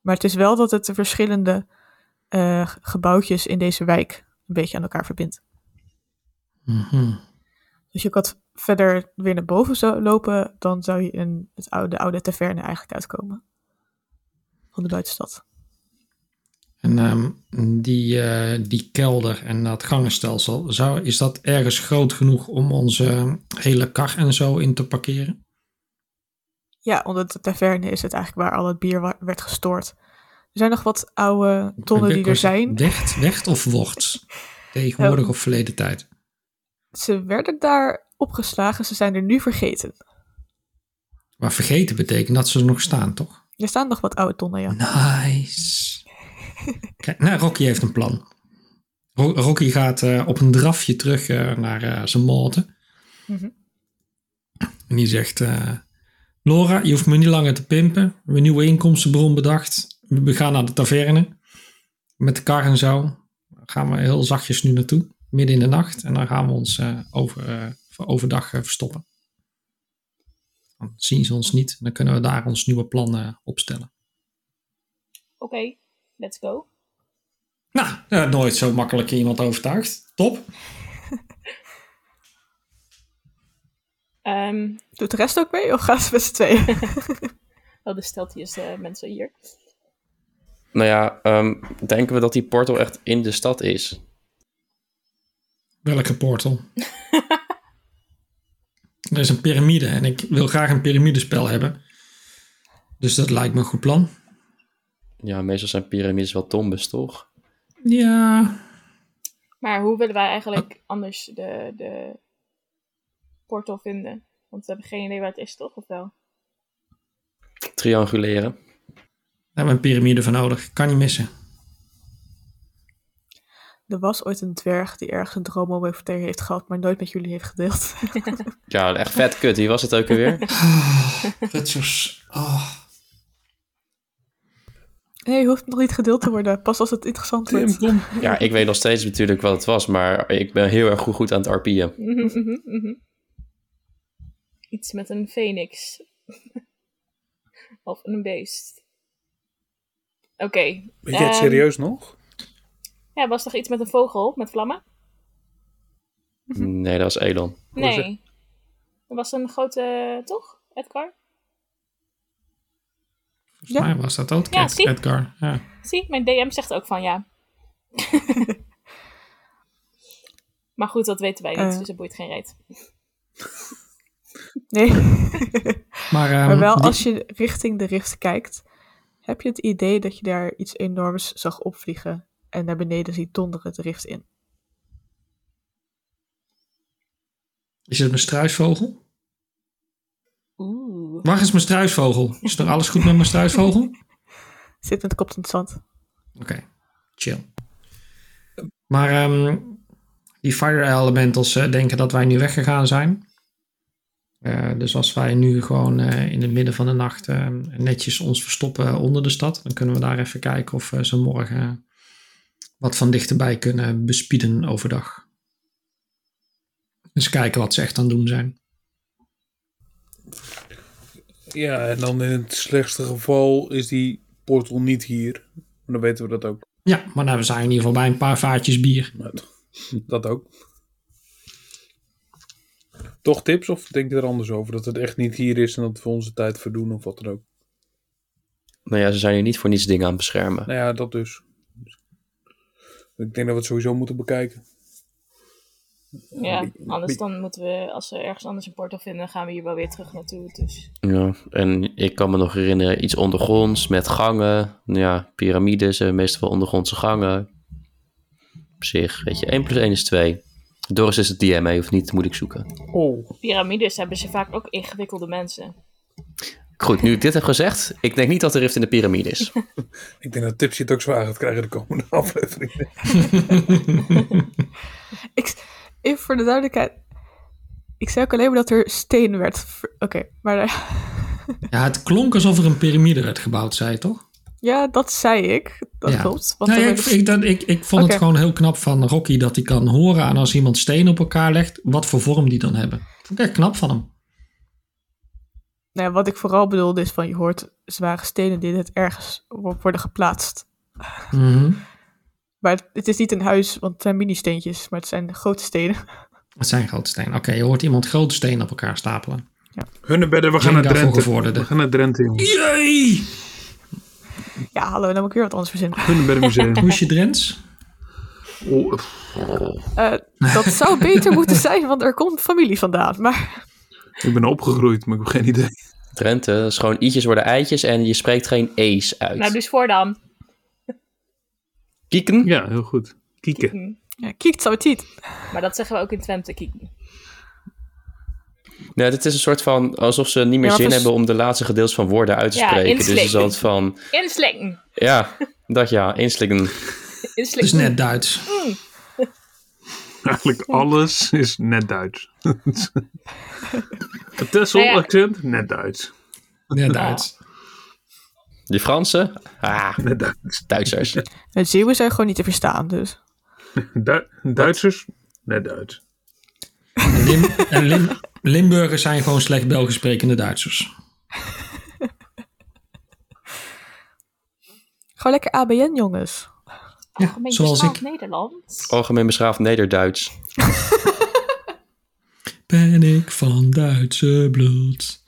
C: Maar het is wel dat het de verschillende eh, gebouwtjes in deze wijk een beetje aan elkaar verbindt.
B: Mhm.
C: Dus je kan verder weer naar boven zou lopen, dan zou je in het oude, de oude taverne eigenlijk uitkomen. Van de buitenstad.
B: En ehm, die, eh, die kelder en dat gangenstelsel, zou, is dat ergens groot genoeg om onze ehm, hele kar en zo in te parkeren?
C: Ja, omdat de taverne is het eigenlijk waar al het bier wa- werd gestoord. Er zijn nog wat oude tonnen die er
B: Was het
C: zijn.
B: Werd, werd of
C: [LAUGHS]
B: wordt? Tegenwoordig of verleden tijd?
C: Ze werden daar opgeslagen, ze zijn er nu vergeten.
B: Maar vergeten betekent dat ze er nog staan, toch?
C: Er staan nog wat oude tonnen,
B: Hm.
C: ja.
B: Nice. Kijk, nou, Rocky heeft een plan. Ro- Rocky gaat eh, op een drafje terug eh, naar eh, zijn malte.
C: Mhm.
B: En die zegt... eh, Laura, je hoeft me niet langer te pimpen. We hebben een nieuwe inkomstenbron bedacht. We gaan naar de taverne. Met de kar en zo. Daar gaan we heel zachtjes nu naartoe. Midden in de nacht. En dan gaan we ons eh, over, eh, voor overdag eh, verstoppen. Dan zien ze ons niet. Dan kunnen we daar ons nieuwe plan eh, opstellen.
D: Oké, let's go.
B: Nou, eh, nooit zo makkelijk iemand overtuigd. Top.
D: Ehm,
C: Doet de rest ook mee of gaan ze met z'n tweeën? [LAUGHS]
D: wel, dus stelt hij eens de mensen hier.
E: Nou ja, ehm, denken we dat die portal echt in de stad is?
B: Welke portal? [LAUGHS] er is een piramide en ik wil graag een piramidespel hebben. Dus dat lijkt me een goed plan.
E: Ja, meestal zijn piramides wel tombes, toch?
B: Ja,
D: Maar hoe willen wij eigenlijk anders de, de portal vinden? Want we hebben geen idee waar het is, toch? Of wel?
E: Trianguleren.
B: Daar hebben we een piramide voor nodig. Kan niet missen.
C: Er was ooit een dwerg die ergens een droom over vertellen heeft gehad, maar nooit met jullie heeft gedeeld. [LAUGHS]
E: Ja, echt vet kut. Wie was het ook alweer?
B: Rutgers. Oh.
C: Nee, hoeft nog niet gedeeld te worden. Pas als het interessant wordt.
B: kom.
E: Ja, ik weet nog steeds natuurlijk wat het was, maar ik ben heel erg goed, goed aan het arpieën.
D: Mhm, mhm, mhm. Iets met een phoenix. [LAUGHS] of een beest. Oké.
F: Weet jij het
D: ehm,
F: serieus nog?
D: Ja, was toch iets met een vogel? Met vlammen?
E: Nee, dat was Elon.
F: Was het-
D: Nee. Er was een grote... Toch? Edgar?
C: Ja.
B: Maar was dat ook
D: Ja,
B: Ed-
D: zie.
B: Edgar? Ja.
D: Zie, mijn DM zegt ook van ja. maar goed, dat weten wij niet,
C: Eh.
D: dus het boeit geen reet.
C: Nee.
B: Maar, ehm,
C: maar wel
B: die-
C: als je richting de rift kijkt, heb je het idee dat je daar iets enorms zag opvliegen en naar beneden ziet donderen de rift in.
B: Is het mijn struisvogel?
D: Oeh.
B: Waar is mijn struisvogel? Is er alles goed met mijn struisvogel? Oké,
C: Zit met de kop in het zand.
B: chill. Maar ehm, die fire elementals eh, denken dat wij nu weggegaan zijn. Eh, dus als wij nu gewoon eh, in het midden van de nacht eh, netjes ons verstoppen eh, onder de stad, dan kunnen we daar even kijken of eh, ze morgen wat van dichterbij kunnen bespieden overdag. Dus kijken wat ze echt aan het doen zijn.
F: Ja, en dan in het slechtste geval is die portal niet hier. Dan weten we dat ook.
B: Ja, maar nou, we zijn in ieder geval bij een paar vaatjes bier.
F: Maar [LAUGHS] t- dat ook. Toch tips of denk je er anders over? Dat het echt niet hier is en dat we onze tijd verdoen of wat dan ook.
E: Nou ja, ze zijn hier niet voor niets dingen aan het beschermen.
F: Nou ja, dat dus. Ik denk dat we het sowieso moeten bekijken.
D: Ja, anders dan moeten we, als we ergens anders een portal vinden, gaan we hier wel weer terug naartoe. Dus
E: Ja, en ik kan me nog herinneren, iets ondergronds met gangen. Ja, piramides hebben meestal wel ondergrondse gangen. Op zich, weet je, 1 plus 1 is 2. Doris is het DMA of niet, moet ik zoeken.
F: Oh,
D: piramides hebben ze vaak ook ingewikkelde mensen.
E: Goed, nu ik dit heb gezegd, ik denk niet dat de rift in de piramide
D: [LAUGHS]
E: is.
F: ik denk dat tips het ook zwaar gaat krijgen de komende [LAUGHS] aflevering.
C: Ik, even voor de duidelijkheid. Ik zei ook alleen maar dat er steen werd. ver- Oké, maar eh, [LAUGHS]
B: Ja, het klonk alsof er een piramide werd gebouwd, zei je toch?
C: ja, dat zei ik. Dat
B: Ja.
C: klopt. Want
B: Nou ja,
C: er
B: ik,
C: werd-
B: ik, dat- ik, ik vond
C: Oké.
B: het gewoon heel knap van Rocky dat hij kan horen aan als iemand stenen op elkaar legt, wat voor vorm die dan hebben. Vond ik echt knap van hem.
C: Nou ja, wat ik vooral bedoelde is van je hoort zware stenen die het ergens wo- worden geplaatst.
B: Mhm.
C: Maar het, het is niet een huis, want het zijn mini-steentjes, maar het zijn grote stenen. [LAUGHS]
B: Het zijn grote stenen. Oké, je hoort iemand grote stenen op elkaar stapelen.
F: Hunnebedden, we gaan
B: Jenga
F: naar
B: voor
F: Drenthe.
B: gevorderde.
F: We gaan naar Drenthe, jongens.
B: Jee!
C: Ja, hallo, dan moet ik weer wat anders verzinnen.
F: Hunnebedden [LAUGHS] Museum.
B: Hoe is je Drents?
F: Oh,
B: [LAUGHS]
C: Eh, dat zou beter moeten zijn, want er komt familie vandaan. Maar
F: ik ben opgegroeid, maar ik heb geen idee.
E: Drenthe, dat is gewoon i'tjes worden eitjes en je spreekt geen e's uit.
D: Nou, dus voor dan.
E: Kieken?
F: [LAUGHS] Ja, heel goed. Kieken.
D: Hm.
C: ja, kiekt zou het niet.
D: Maar dat zeggen we ook in Twente. Kieken.
E: Nee, dit is een soort van alsof ze niet meer
C: Ja,
E: zin
C: vers-
E: hebben om de laatste gedeeltes van woorden uit te
D: Ja,
E: spreken. Dus het is een
D: inslikken.
E: soort van,
D: Inslikken.
E: ja, dat ja, inslikken.
B: Het is
D: Inslikken.
B: net Duits.
F: [LAUGHS] Eigenlijk alles is net Duits. [LAUGHS] Het Texel
D: Nou ja.
F: accent, net Duits.
D: Oh.
B: Net Duits.
E: Die Fransen? Ah,
F: Net
D: [LAUGHS]
F: Duits.
E: Duitsers.
C: De Zeeuwen zijn gewoon niet te verstaan, dus.
F: Du- Duitsers, net Duits.
B: En Lim, en Lim, Limburgers zijn gewoon slecht Belgisch sprekende Duitsers.
C: Gewoon lekker ABN, jongens.
B: Ja,
D: Gemeen
B: zoals
D: beschaafd
B: ik.
D: Nederland.
E: Algemeen beschaafd Nederduits.
B: Ben ik van Duitse bloed.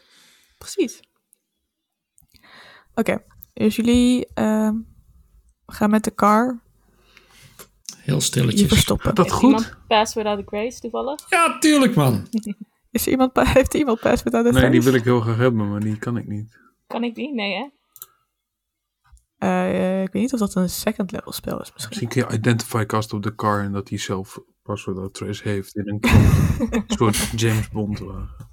C: Precies. Oké, dus jullie ehm, gaan met de car
B: Heel
C: je
B: stilletjes.
C: verstoppen.
F: Dat
D: Heeft
F: goed?
D: Iemand pass without a grace toevallig.
B: Ja, tuurlijk man.
C: Is er iemand, pa- [LAUGHS] heeft er iemand pass without a
F: Nee, die
C: face?
F: wil ik heel graag hebben, maar die kan ik niet.
D: Kan ik die? Nee, hè?
C: Eh, ik weet niet of dat een second level spel is misschien.
F: Misschien kun je identify cast op de car en dat hij zelf password adres heeft in een [LAUGHS] code. Een soort James Bond wagen.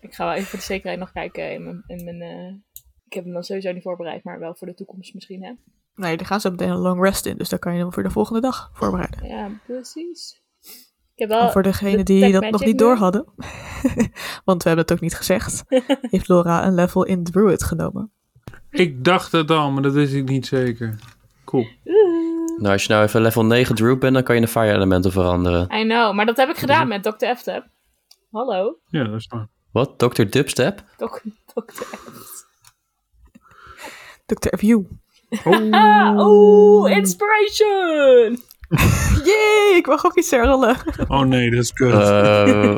D: Ik ga wel even voor de zekerheid nog kijken in mijn... In mijn eh, Ik heb hem dan sowieso niet voorbereid, maar wel voor de toekomst misschien, hè?
C: Nee, daar gaan ze meteen een long rest in, dus daar kan je hem voor de volgende dag voorbereiden.
D: Ja, precies. Ik heb
C: En
D: wel...
C: Oh, voor degenen die dat nog
D: Blackmagic
C: niet
D: nu?
C: door hadden, [LAUGHS] want we hebben het ook niet gezegd, heeft Laura een level in Druid genomen.
F: Ik dacht het al, maar dat wist ik niet zeker. Cool.
E: Nou, als je nou even level 9 Druid bent, dan kan je de fire elementen veranderen.
D: I know, maar dat heb ik gedaan met Dr. Eftap. Hallo,
F: Ja, dat is waar.
E: Wat? Dr. Dubstep?
D: Doc- Dr. Eftap.
C: Dr. View.
D: Ah, oeh, inspiration! [LAUGHS]
C: Jee, ik mag ook iets rollen.
F: Oh nee, dat is kut.
E: [LAUGHS] Eh,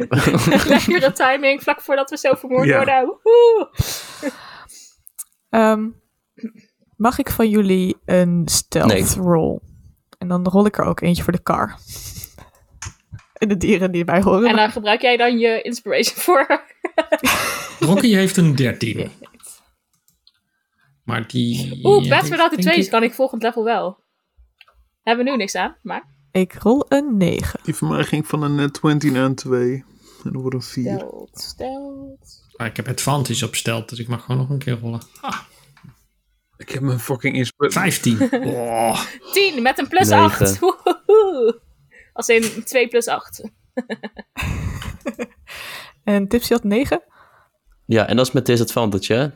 D: Lekkere timing, vlak voordat we zo vermoord
F: Ja.
D: worden. Woehoe.
C: Ehm, mag ik van jullie een stealth
E: Nee.
C: roll? En dan rol ik er ook eentje voor de car. en de dieren die erbij horen.
D: En daar gebruik jij dan je inspiration voor.
B: Rocky heeft een
D: [LAUGHS]
B: 13. Maar die...
D: Oeh, best we dat de
B: de
D: twee is, kan ik volgend level wel. Hebben we nu niks aan, maar...
C: Ik rol een 9.
F: Die van mij ging van een eh, 20 naar een 2. En dan wordt een 4.
D: Stelt, stelt.
B: Ah, ik heb advantage op stelt, dus ik mag gewoon nog een keer rollen. Ah,
F: Ik heb mijn fucking inspiratie.
B: 15. Oh,
D: 10 met een plus
E: Negen.
D: 8. Woehoe. Als in 2 plus 8.
C: En Tipsy had 9.
E: [LAUGHS] ja, en dat is met disadvantage, hè?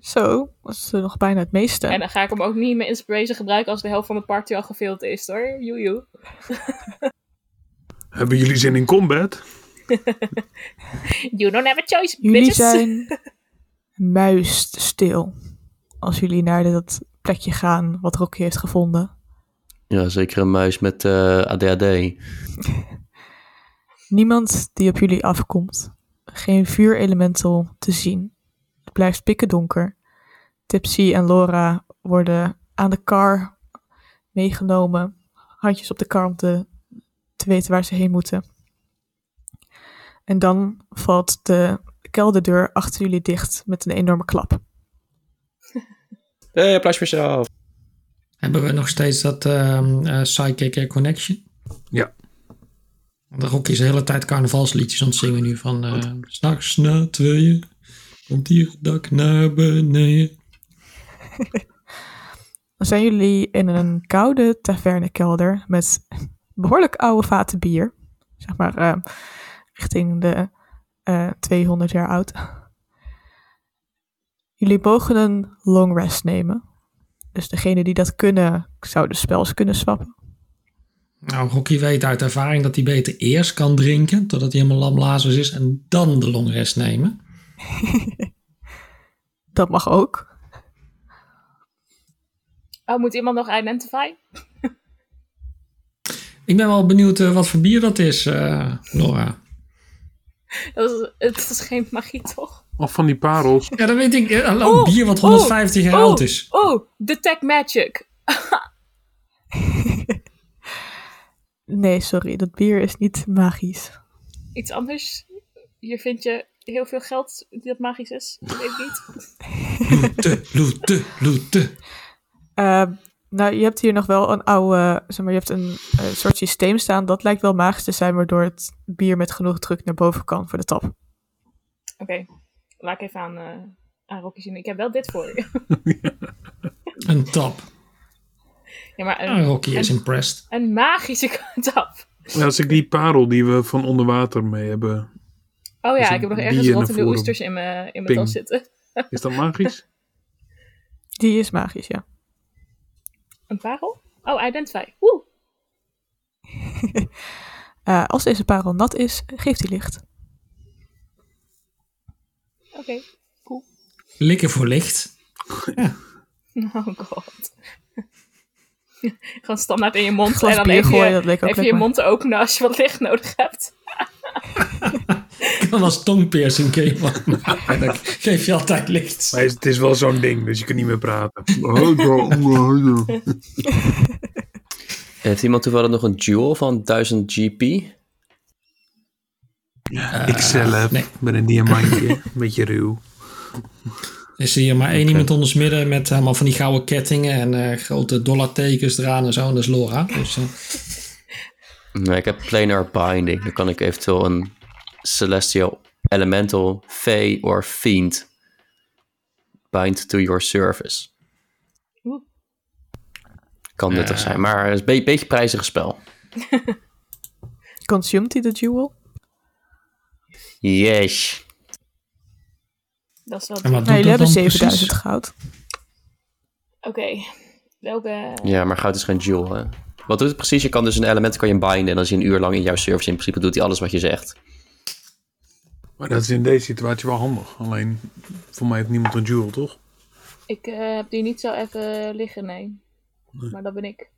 C: Zo, was nog bijna het meeste.
D: En dan ga ik hem ook niet met inspiration gebruiken als de helft van de party al gefield is hoor. Joejoe.
F: Hebben jullie zin in combat?
D: You don't have a choice,
C: jullie
D: bitches. [LAUGHS]
C: zijn muisstil. Als jullie naar dat plekje gaan wat Rocky heeft gevonden.
E: Ja, zeker een muis met eh, ADHD.
C: Niemand die op jullie afkomt. Geen vuurelemental te zien. Het blijft pikken donker. Tipsy en Laura worden aan de kar meegenomen. Handjes op de kar om te, te weten waar ze heen moeten. En dan valt de kelderdeur achter jullie dicht met een enorme klap.
E: Hey, applaus voor jezelf.
B: hebben we nog steeds dat ehm eh, Psychic eh, Connection?
F: Ja.
B: Want Rocky is de hele tijd carnavalsliedjes aan het zingen nu van... eh, S'nachts na tweeën komt hier het dak naar beneden.
C: Dan zijn jullie in een koude tavernekelder met behoorlijk oude vaten bier. Zeg maar eh, richting de eh, 200 jaar oud. Jullie mogen een long rest nemen. Dus degene die dat kunnen, zouden spels kunnen swappen.
B: Nou, Rocky weet uit ervaring dat hij beter eerst kan drinken, totdat hij helemaal lamblazers is, en dan de longrest nemen.
C: Dat mag ook.
D: Oh, moet iemand nog identify?
B: Ik ben wel benieuwd eh, wat voor bier dat is, eh Laura.
D: Dat is, het is geen magie toch?
F: Of van die [LAUGHS] parels?
B: Ja, dat weet ik. Eh, Een
D: Oh,
B: bier wat
D: oh,
B: 150 jaar
D: oh,
B: oud is.
D: Oh, detect magic.
C: Nee, sorry, dat bier is niet magisch.
D: Iets anders. Hier vind je heel veel geld dat magisch is. Ik weet niet.
B: Loete, loete, loete.
C: Eh, nou, je hebt hier nog wel een oude, zeg maar, je hebt een eh, soort systeem staan. Dat lijkt wel magisch te zijn, waardoor het bier met genoeg druk naar boven kan voor de tap.
D: Oké, laat ik even aan, eh aan Rocky zien. Ik heb wel dit voor je. [LAUGHS]
B: Een tap.
D: Ja, maar
B: Ah,
D: een,
B: Rocky is impressed.
D: een magische [LAUGHS] tap.
F: Ja, als ik die parel die we van onder water mee hebben,
D: Oh
F: Dus
D: ja,
F: een
D: ik heb nog
F: bier
D: ergens
F: in een
D: rottende
F: forum.
D: oesters in mijn, in mijn
F: Ping.
D: tas zitten.
F: is dat magisch?
C: Die is magisch, ja.
D: Een parel? Oh, identify. Woe.
C: Eh, als deze parel nat is, geeft hij licht.
D: Oké. [LAUGHS]
B: Likken voor licht.
D: Oh god. [LAUGHS] Gewoon standaard in je mond.
C: Glas
D: en dan
C: bier
D: even
C: gooien,
D: je,
C: dat leek ook
D: even je
C: lekker.
D: mond te openen als je wat licht nodig hebt.
B: Dat was tongpiercing, Kevin.
F: [LAUGHS]
B: Maar dat geef je altijd licht.
F: Maar het is wel zo'n ding, dus je kunt niet meer [LAUGHS] praten. Oh, ja, oh, ja.
E: Heeft iemand toevallig nog een jewel van 1000 GP?
F: Ikzelf
B: nee.
F: ben een diamantje, een beetje ruw.
B: Is hier Dus maar één
F: Oké.
B: iemand onder ons midden met eh, allemaal van die gouden kettingen en eh, grote dollartekens eraan en zo. En dat is Laura. Dus, eh,
E: Nee, ik heb planar binding. Dan kan ik eventueel een celestial elemental fey or fiend bind to your service.
D: Oeh.
E: Kan nuttig zijn, maar het is een be- beetje prijzig spel.
C: Consumed hij de jewel?
E: Yes.
D: Dat is wel...
B: en wat
C: Nee,
B: doet
C: jullie
B: dat
C: hebben
B: dan
C: 7000
B: precies?
C: goud.
D: Oké. Welke...
E: Ja, maar goud is geen jewel, hè? Wat doet het precies? Je kan dus een element kan je binden en dan is hij een uur lang in jouw service. In principe doet hij alles wat je zegt.
F: Maar dat is in deze situatie wel handig. Alleen, voor mij heeft niemand een jewel, toch?
D: Ik eh, heb die niet zo even liggen, nee. Maar dat ben ik.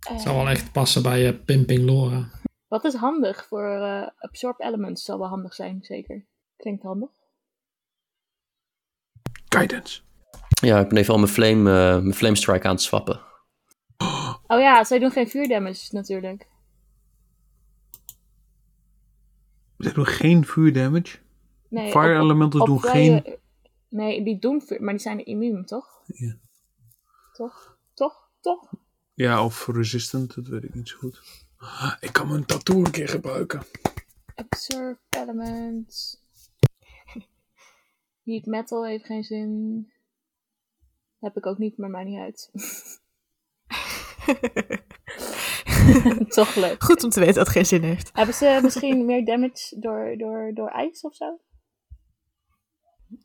D: Eh,
B: Zou wel echt passen bij eh, Pimping Laura.
D: Wat is handig voor eh, Absorb Elements? Zal wel handig zijn, zeker. Klinkt handig.
F: Guidance.
E: Ja, ik ben even al mijn flame, eh, mijn flame strike aan het swappen.
D: Oh ja, zij doen geen vuurdamage natuurlijk.
F: Ze doen geen vuurdamage.
D: Nee,
F: Fire elementals
D: op
F: doen
D: wel
F: geen...
D: je- Nee, die doen vuur, maar die zijn immuun, toch?
F: Ja.
D: Toch? Toch? Toch?
F: Ja, of resistant, dat weet ik niet zo goed. Ah, Ik kan mijn tattoo een keer gebruiken.
D: Absorb Elements. [LAUGHS] Heat Metal heeft geen zin. Heb ik ook niet, maar maakt niet uit. Toch leuk.
C: Goed om te weten dat het geen zin heeft.
D: Hebben ze misschien meer damage door, door, door ijs of zo?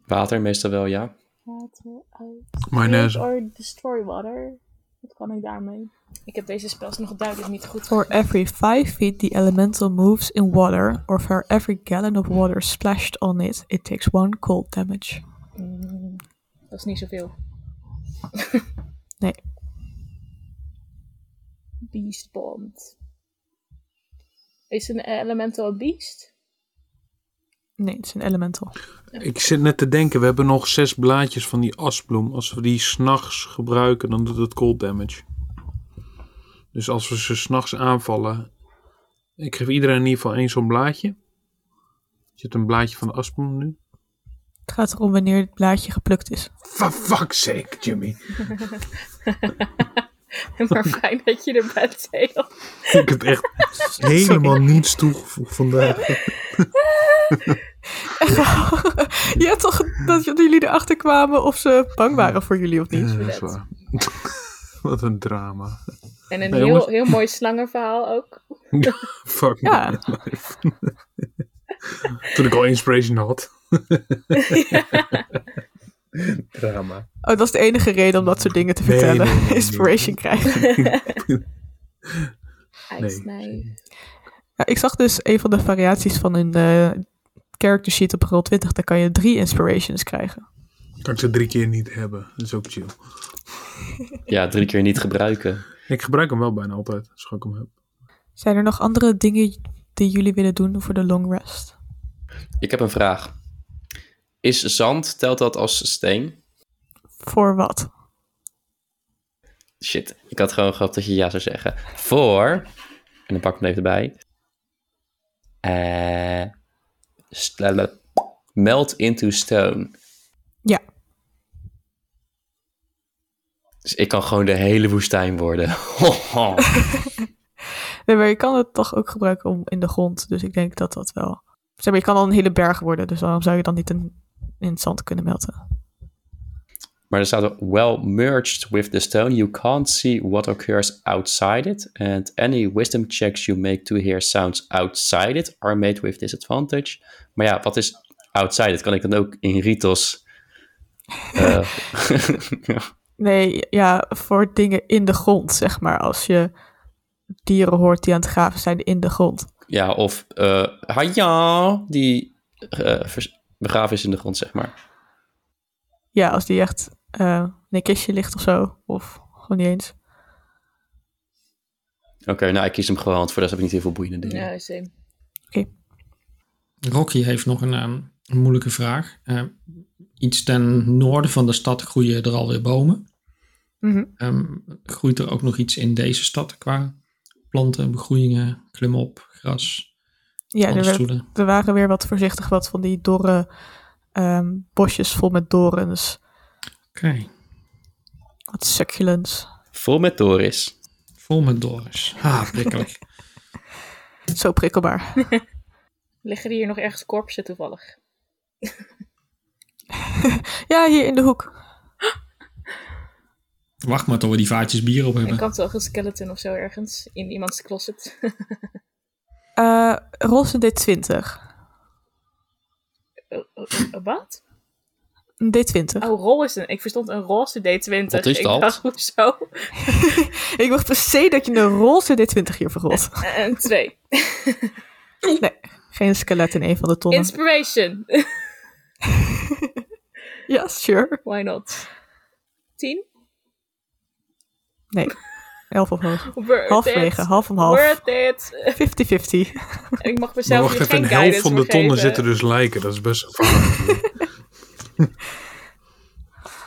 E: Water meestal wel, ja.
D: Water, ijs.
F: Mayonaise.
D: Or destroy water. Wat kan ik daarmee? Ik heb deze spels nog duidelijk niet goed
C: For every 5 feet the elemental moves in water, or for every gallon of water splashed on it, it takes one cold damage.
D: Mm, dat is niet zoveel.
C: Nee.
D: Beast Bond. Is een elemental een beast?
C: Nee, het is een elemental.
F: Ik zit net te denken, we hebben nog zes blaadjes van die asbloem. Als we die s'nachts gebruiken, dan doet het cold damage. Dus als we ze s'nachts aanvallen... Ik geef iedereen in ieder geval één zo'n blaadje. Er zit een blaadje van de asbloem nu.
C: Het gaat erom wanneer het blaadje geplukt is. [LAUGHS]
F: For fuck's sake, Jimmy.
D: [LAUGHS] maar fijn dat je er bent, Theo.
F: [LAUGHS] Ik heb [LAUGHS] echt helemaal niets toegevoegd vandaag.
C: Je hebt toch dat jullie erachter kwamen of ze bang waren voor jullie of niet?
F: Ja, dat is waar. [LAUGHS] Wat een drama.
D: En een
F: Nee, jongens.
D: heel, heel mooi slangenverhaal ook.
F: [LAUGHS] Fuck me.
C: Ja,
F: Toen ik al inspiration [LAUGHS] had. [LAUGHS] drama.
C: oh, dat is de enige reden om dat soort dingen te
F: Nee,
C: vertellen. [LAUGHS]
F: nee, nee, nee.
C: Inspiration krijgen.
D: IJsnij.
C: Ja, ik zag dus een van de variaties van hun eh, character sheet op rol 20. Daar kan je drie inspirations krijgen.
F: Kan ik ze drie keer niet hebben. Dat is ook chill.
E: Ja, drie keer niet gebruiken.
F: Ik gebruik hem wel bijna altijd. Als ik hem heb.
C: Zijn er nog andere dingen die jullie willen doen voor de long rest?
E: Ik heb een vraag. Is zand, telt dat als steen?
C: Voor wat?
E: Shit, ik had gewoon gehoopt dat je ja zou zeggen. Voor, en dan pak ik hem even erbij. Eh, stellen- melt into stone.
C: Ja.
E: Dus ik kan gewoon de hele woestijn worden. [LAUGHS]
C: Nee, maar je kan het toch ook gebruiken om in de grond. Dus ik denk dat dat wel... Zeg maar, je kan al een hele berg worden. Dus waarom zou je dan niet in, in het zand kunnen melten?
E: maar er staat ook, well merged with the stone, you can't see what occurs outside it. And any wisdom checks you make to hear sounds outside it are made with disadvantage. Maar ja, wat is outside it? Kan ik dan ook in ritos... eh, [LAUGHS]
C: Nee, ja, voor dingen in de grond, zeg maar. Als je dieren hoort die aan het graven zijn in de grond.
E: Ja, of eh Haja, die eh, vers- begraven is in de grond, zeg maar.
C: Ja, als die echt eh, in een kistje ligt of zo. Of gewoon niet eens.
E: Oké, nou, ik kies hem gewoon, want voor de rest heb ik niet heel veel boeiende dingen.
D: Ja, same.
B: Rocky heeft nog een, ehm, een moeilijke vraag. Eh, iets ten noorden van de stad groeien er alweer bomen.
C: Mhm.
B: Ehm, groeit er ook nog iets in deze stad qua planten, begroeiingen, klimop, gras,
C: Ja, er, werd-
B: paddenstoelen?
C: er waren weer wat voorzichtig wat van die dorre ehm, bosjes vol met dorens.
B: Oké,
C: Wat succulents.
E: Vol met Doris.
B: vol met dorens. Ah, prikkelijk.
C: [LAUGHS] Zo prikkelbaar.
D: Liggen hier nog ergens korpsen toevallig?
C: Ja, hier in de hoek.
B: Wacht maar tot we die vaatjes bier op hebben.
D: Ik had toch een skeleton of zo ergens in iemands closet. [LAUGHS]
C: Eh roze D20.
D: Eh, eh, Wat?
C: Een D20.
D: Oh, rol is een. Ik verstond een roze D20.
E: Wat is
D: ik
E: dat?
D: dacht, hoezo?
C: Ik dacht per se dat je een roze D20 hier verrot.
D: Eh, Een 2.
C: Geen skelet in een van de tonnen.
D: Inspiration. [LAUGHS]
C: Ja, sure.
D: Why not? 10?
C: Nee. Elf omhoog.
D: Worth
C: Halfwege,
D: it.
C: half om half.
D: Worth it. [LAUGHS]
C: 50-50.
D: En ik mag
F: Maar
D: mezelf
F: wacht
D: hier
F: even,
D: geen
F: een helft
D: guidance
F: van de
D: voor
F: tonnen
D: geven.
F: zitten dus lijken. Dat is best gevaarlijk.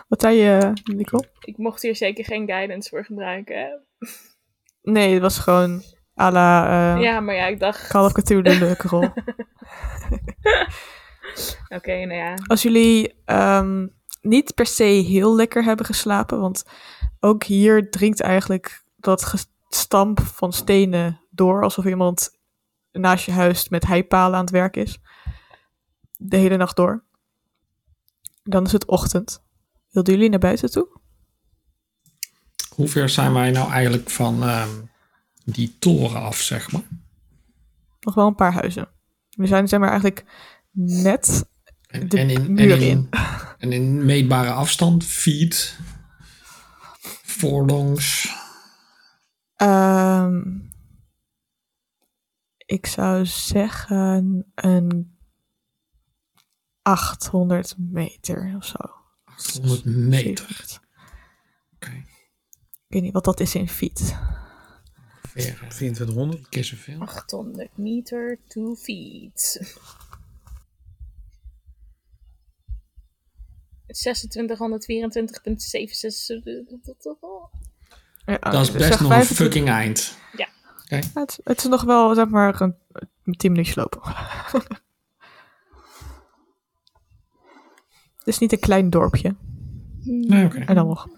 C: Wat zei je, eh, Nicole?
D: Ik mocht hier zeker geen guidance voor gebruiken. hè?
C: Nee, het was gewoon à la eh,
D: Ja, maar ja, ik dacht...
C: Call of Cthulhu leuke rol.
D: Oké, nou ja.
C: Als jullie ehm, niet per se heel lekker hebben geslapen, want ook hier dringt eigenlijk dat gestamp van stenen door, alsof iemand naast je huis met heipalen aan het werk is. De hele nacht door. Dan is het ochtend. Wilden jullie naar buiten toe?
B: Hoe ver zijn wij nou eigenlijk van ehm, die toren af, zeg maar?
C: Nog wel een paar huizen. We zijn, zeg maar, eigenlijk net.
B: En,
C: De
B: en in, en,
C: muur
B: in,
C: in.
B: en in meetbare afstand, feet, voorlongs.
C: ehm, ik zou zeggen een 800 meter of zo.
B: 800 meter.
C: 700.
B: Oké,
C: Ik weet niet wat dat is in feet.
B: ongeveer eh,
F: 2400.
B: drie keer zoveel.
D: 800 meter, 2 feet. 2624,76.
C: Ja, oh,
B: Dat is
C: zeg
B: best nog een
C: 25
B: fucking eind.
C: Het, het is nog wel, zeg maar, een, 10 minuutjes lopen. [LAUGHS] het is niet een klein dorpje.
B: Nee, oké.
C: En dan nog.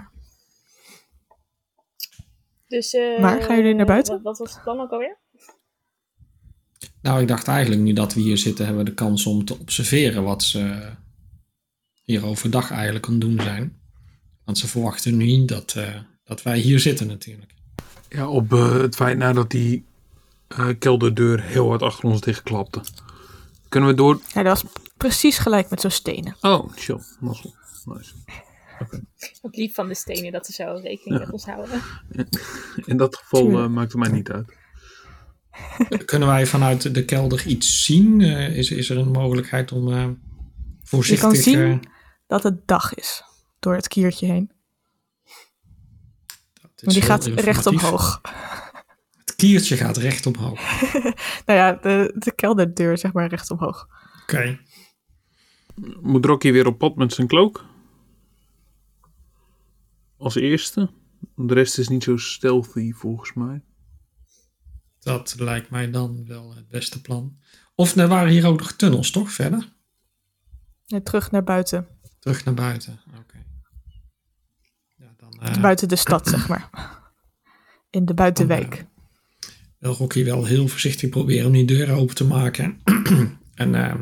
D: Dus, eh,
C: Maar gaan jullie naar buiten?
D: Wat, wat was het plan ook alweer?
B: Nou, ik dacht eigenlijk nu dat we hier zitten, hebben we de kans om te observeren wat ze hier overdag eigenlijk aan het doen zijn. Want ze verwachten nu niet dat, eh, dat wij hier zitten natuurlijk. [LAUGHS]
F: Ja, op eh, het feit nadat die eh, kelderdeur heel hard achter ons dichtklapte. Kunnen we door...
C: Ja, dat was precies gelijk met zo'n stenen.
F: Oh, chill. Dat is wel Nice.
D: Wat lief van de stenen dat ze zo rekening met ons houden.
F: In dat geval
C: Tuurlijk.
F: eh, maakt het mij niet uit.
B: Kunnen wij vanuit de kelder iets zien? Eh, is, is er een mogelijkheid om eh, voorzichtig...
C: Je kan zien-
B: eh,
C: Dat het dag is. Door het kiertje heen.
B: dat is
C: Maar die
B: heel
C: gaat recht
B: informatief.
C: omhoog.
B: Het kiertje gaat recht omhoog. Oké.
C: Nou ja, de, de kelderdeur, zeg maar, recht omhoog.
F: Moet Rocky weer op pad met zijn cloak? Als eerste. De rest is niet zo stealthy volgens mij.
B: Dat lijkt mij dan wel het beste plan. Of er waren hier ook nog tunnels, toch? Verder?
C: En terug naar buiten.
B: Terug naar buiten. Oké. Ja, dan eh,
C: Buiten de stad, zeg maar. In de buitenwijk.
B: wil Rocky wel heel voorzichtig proberen om die deuren open te maken. [CLEARS THROAT] en eh,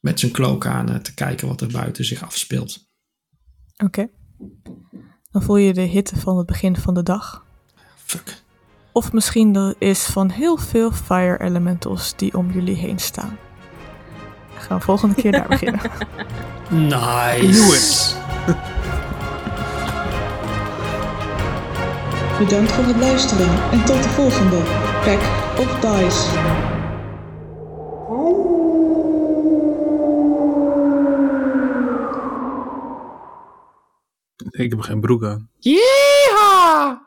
B: met zijn cloak aan eh, te kijken wat er buiten zich afspeelt.
C: Oké. Dan voel je de hitte van het begin van de dag.
B: Fuck.
C: Of misschien dat het is van heel veel fire elementals die om jullie heen staan. We gaan we volgende keer daar beginnen.
B: Nice.
A: Bedankt voor het luisteren en tot de volgende Pack of Dice.
F: Ik heb geen broek aan.
B: Yeah!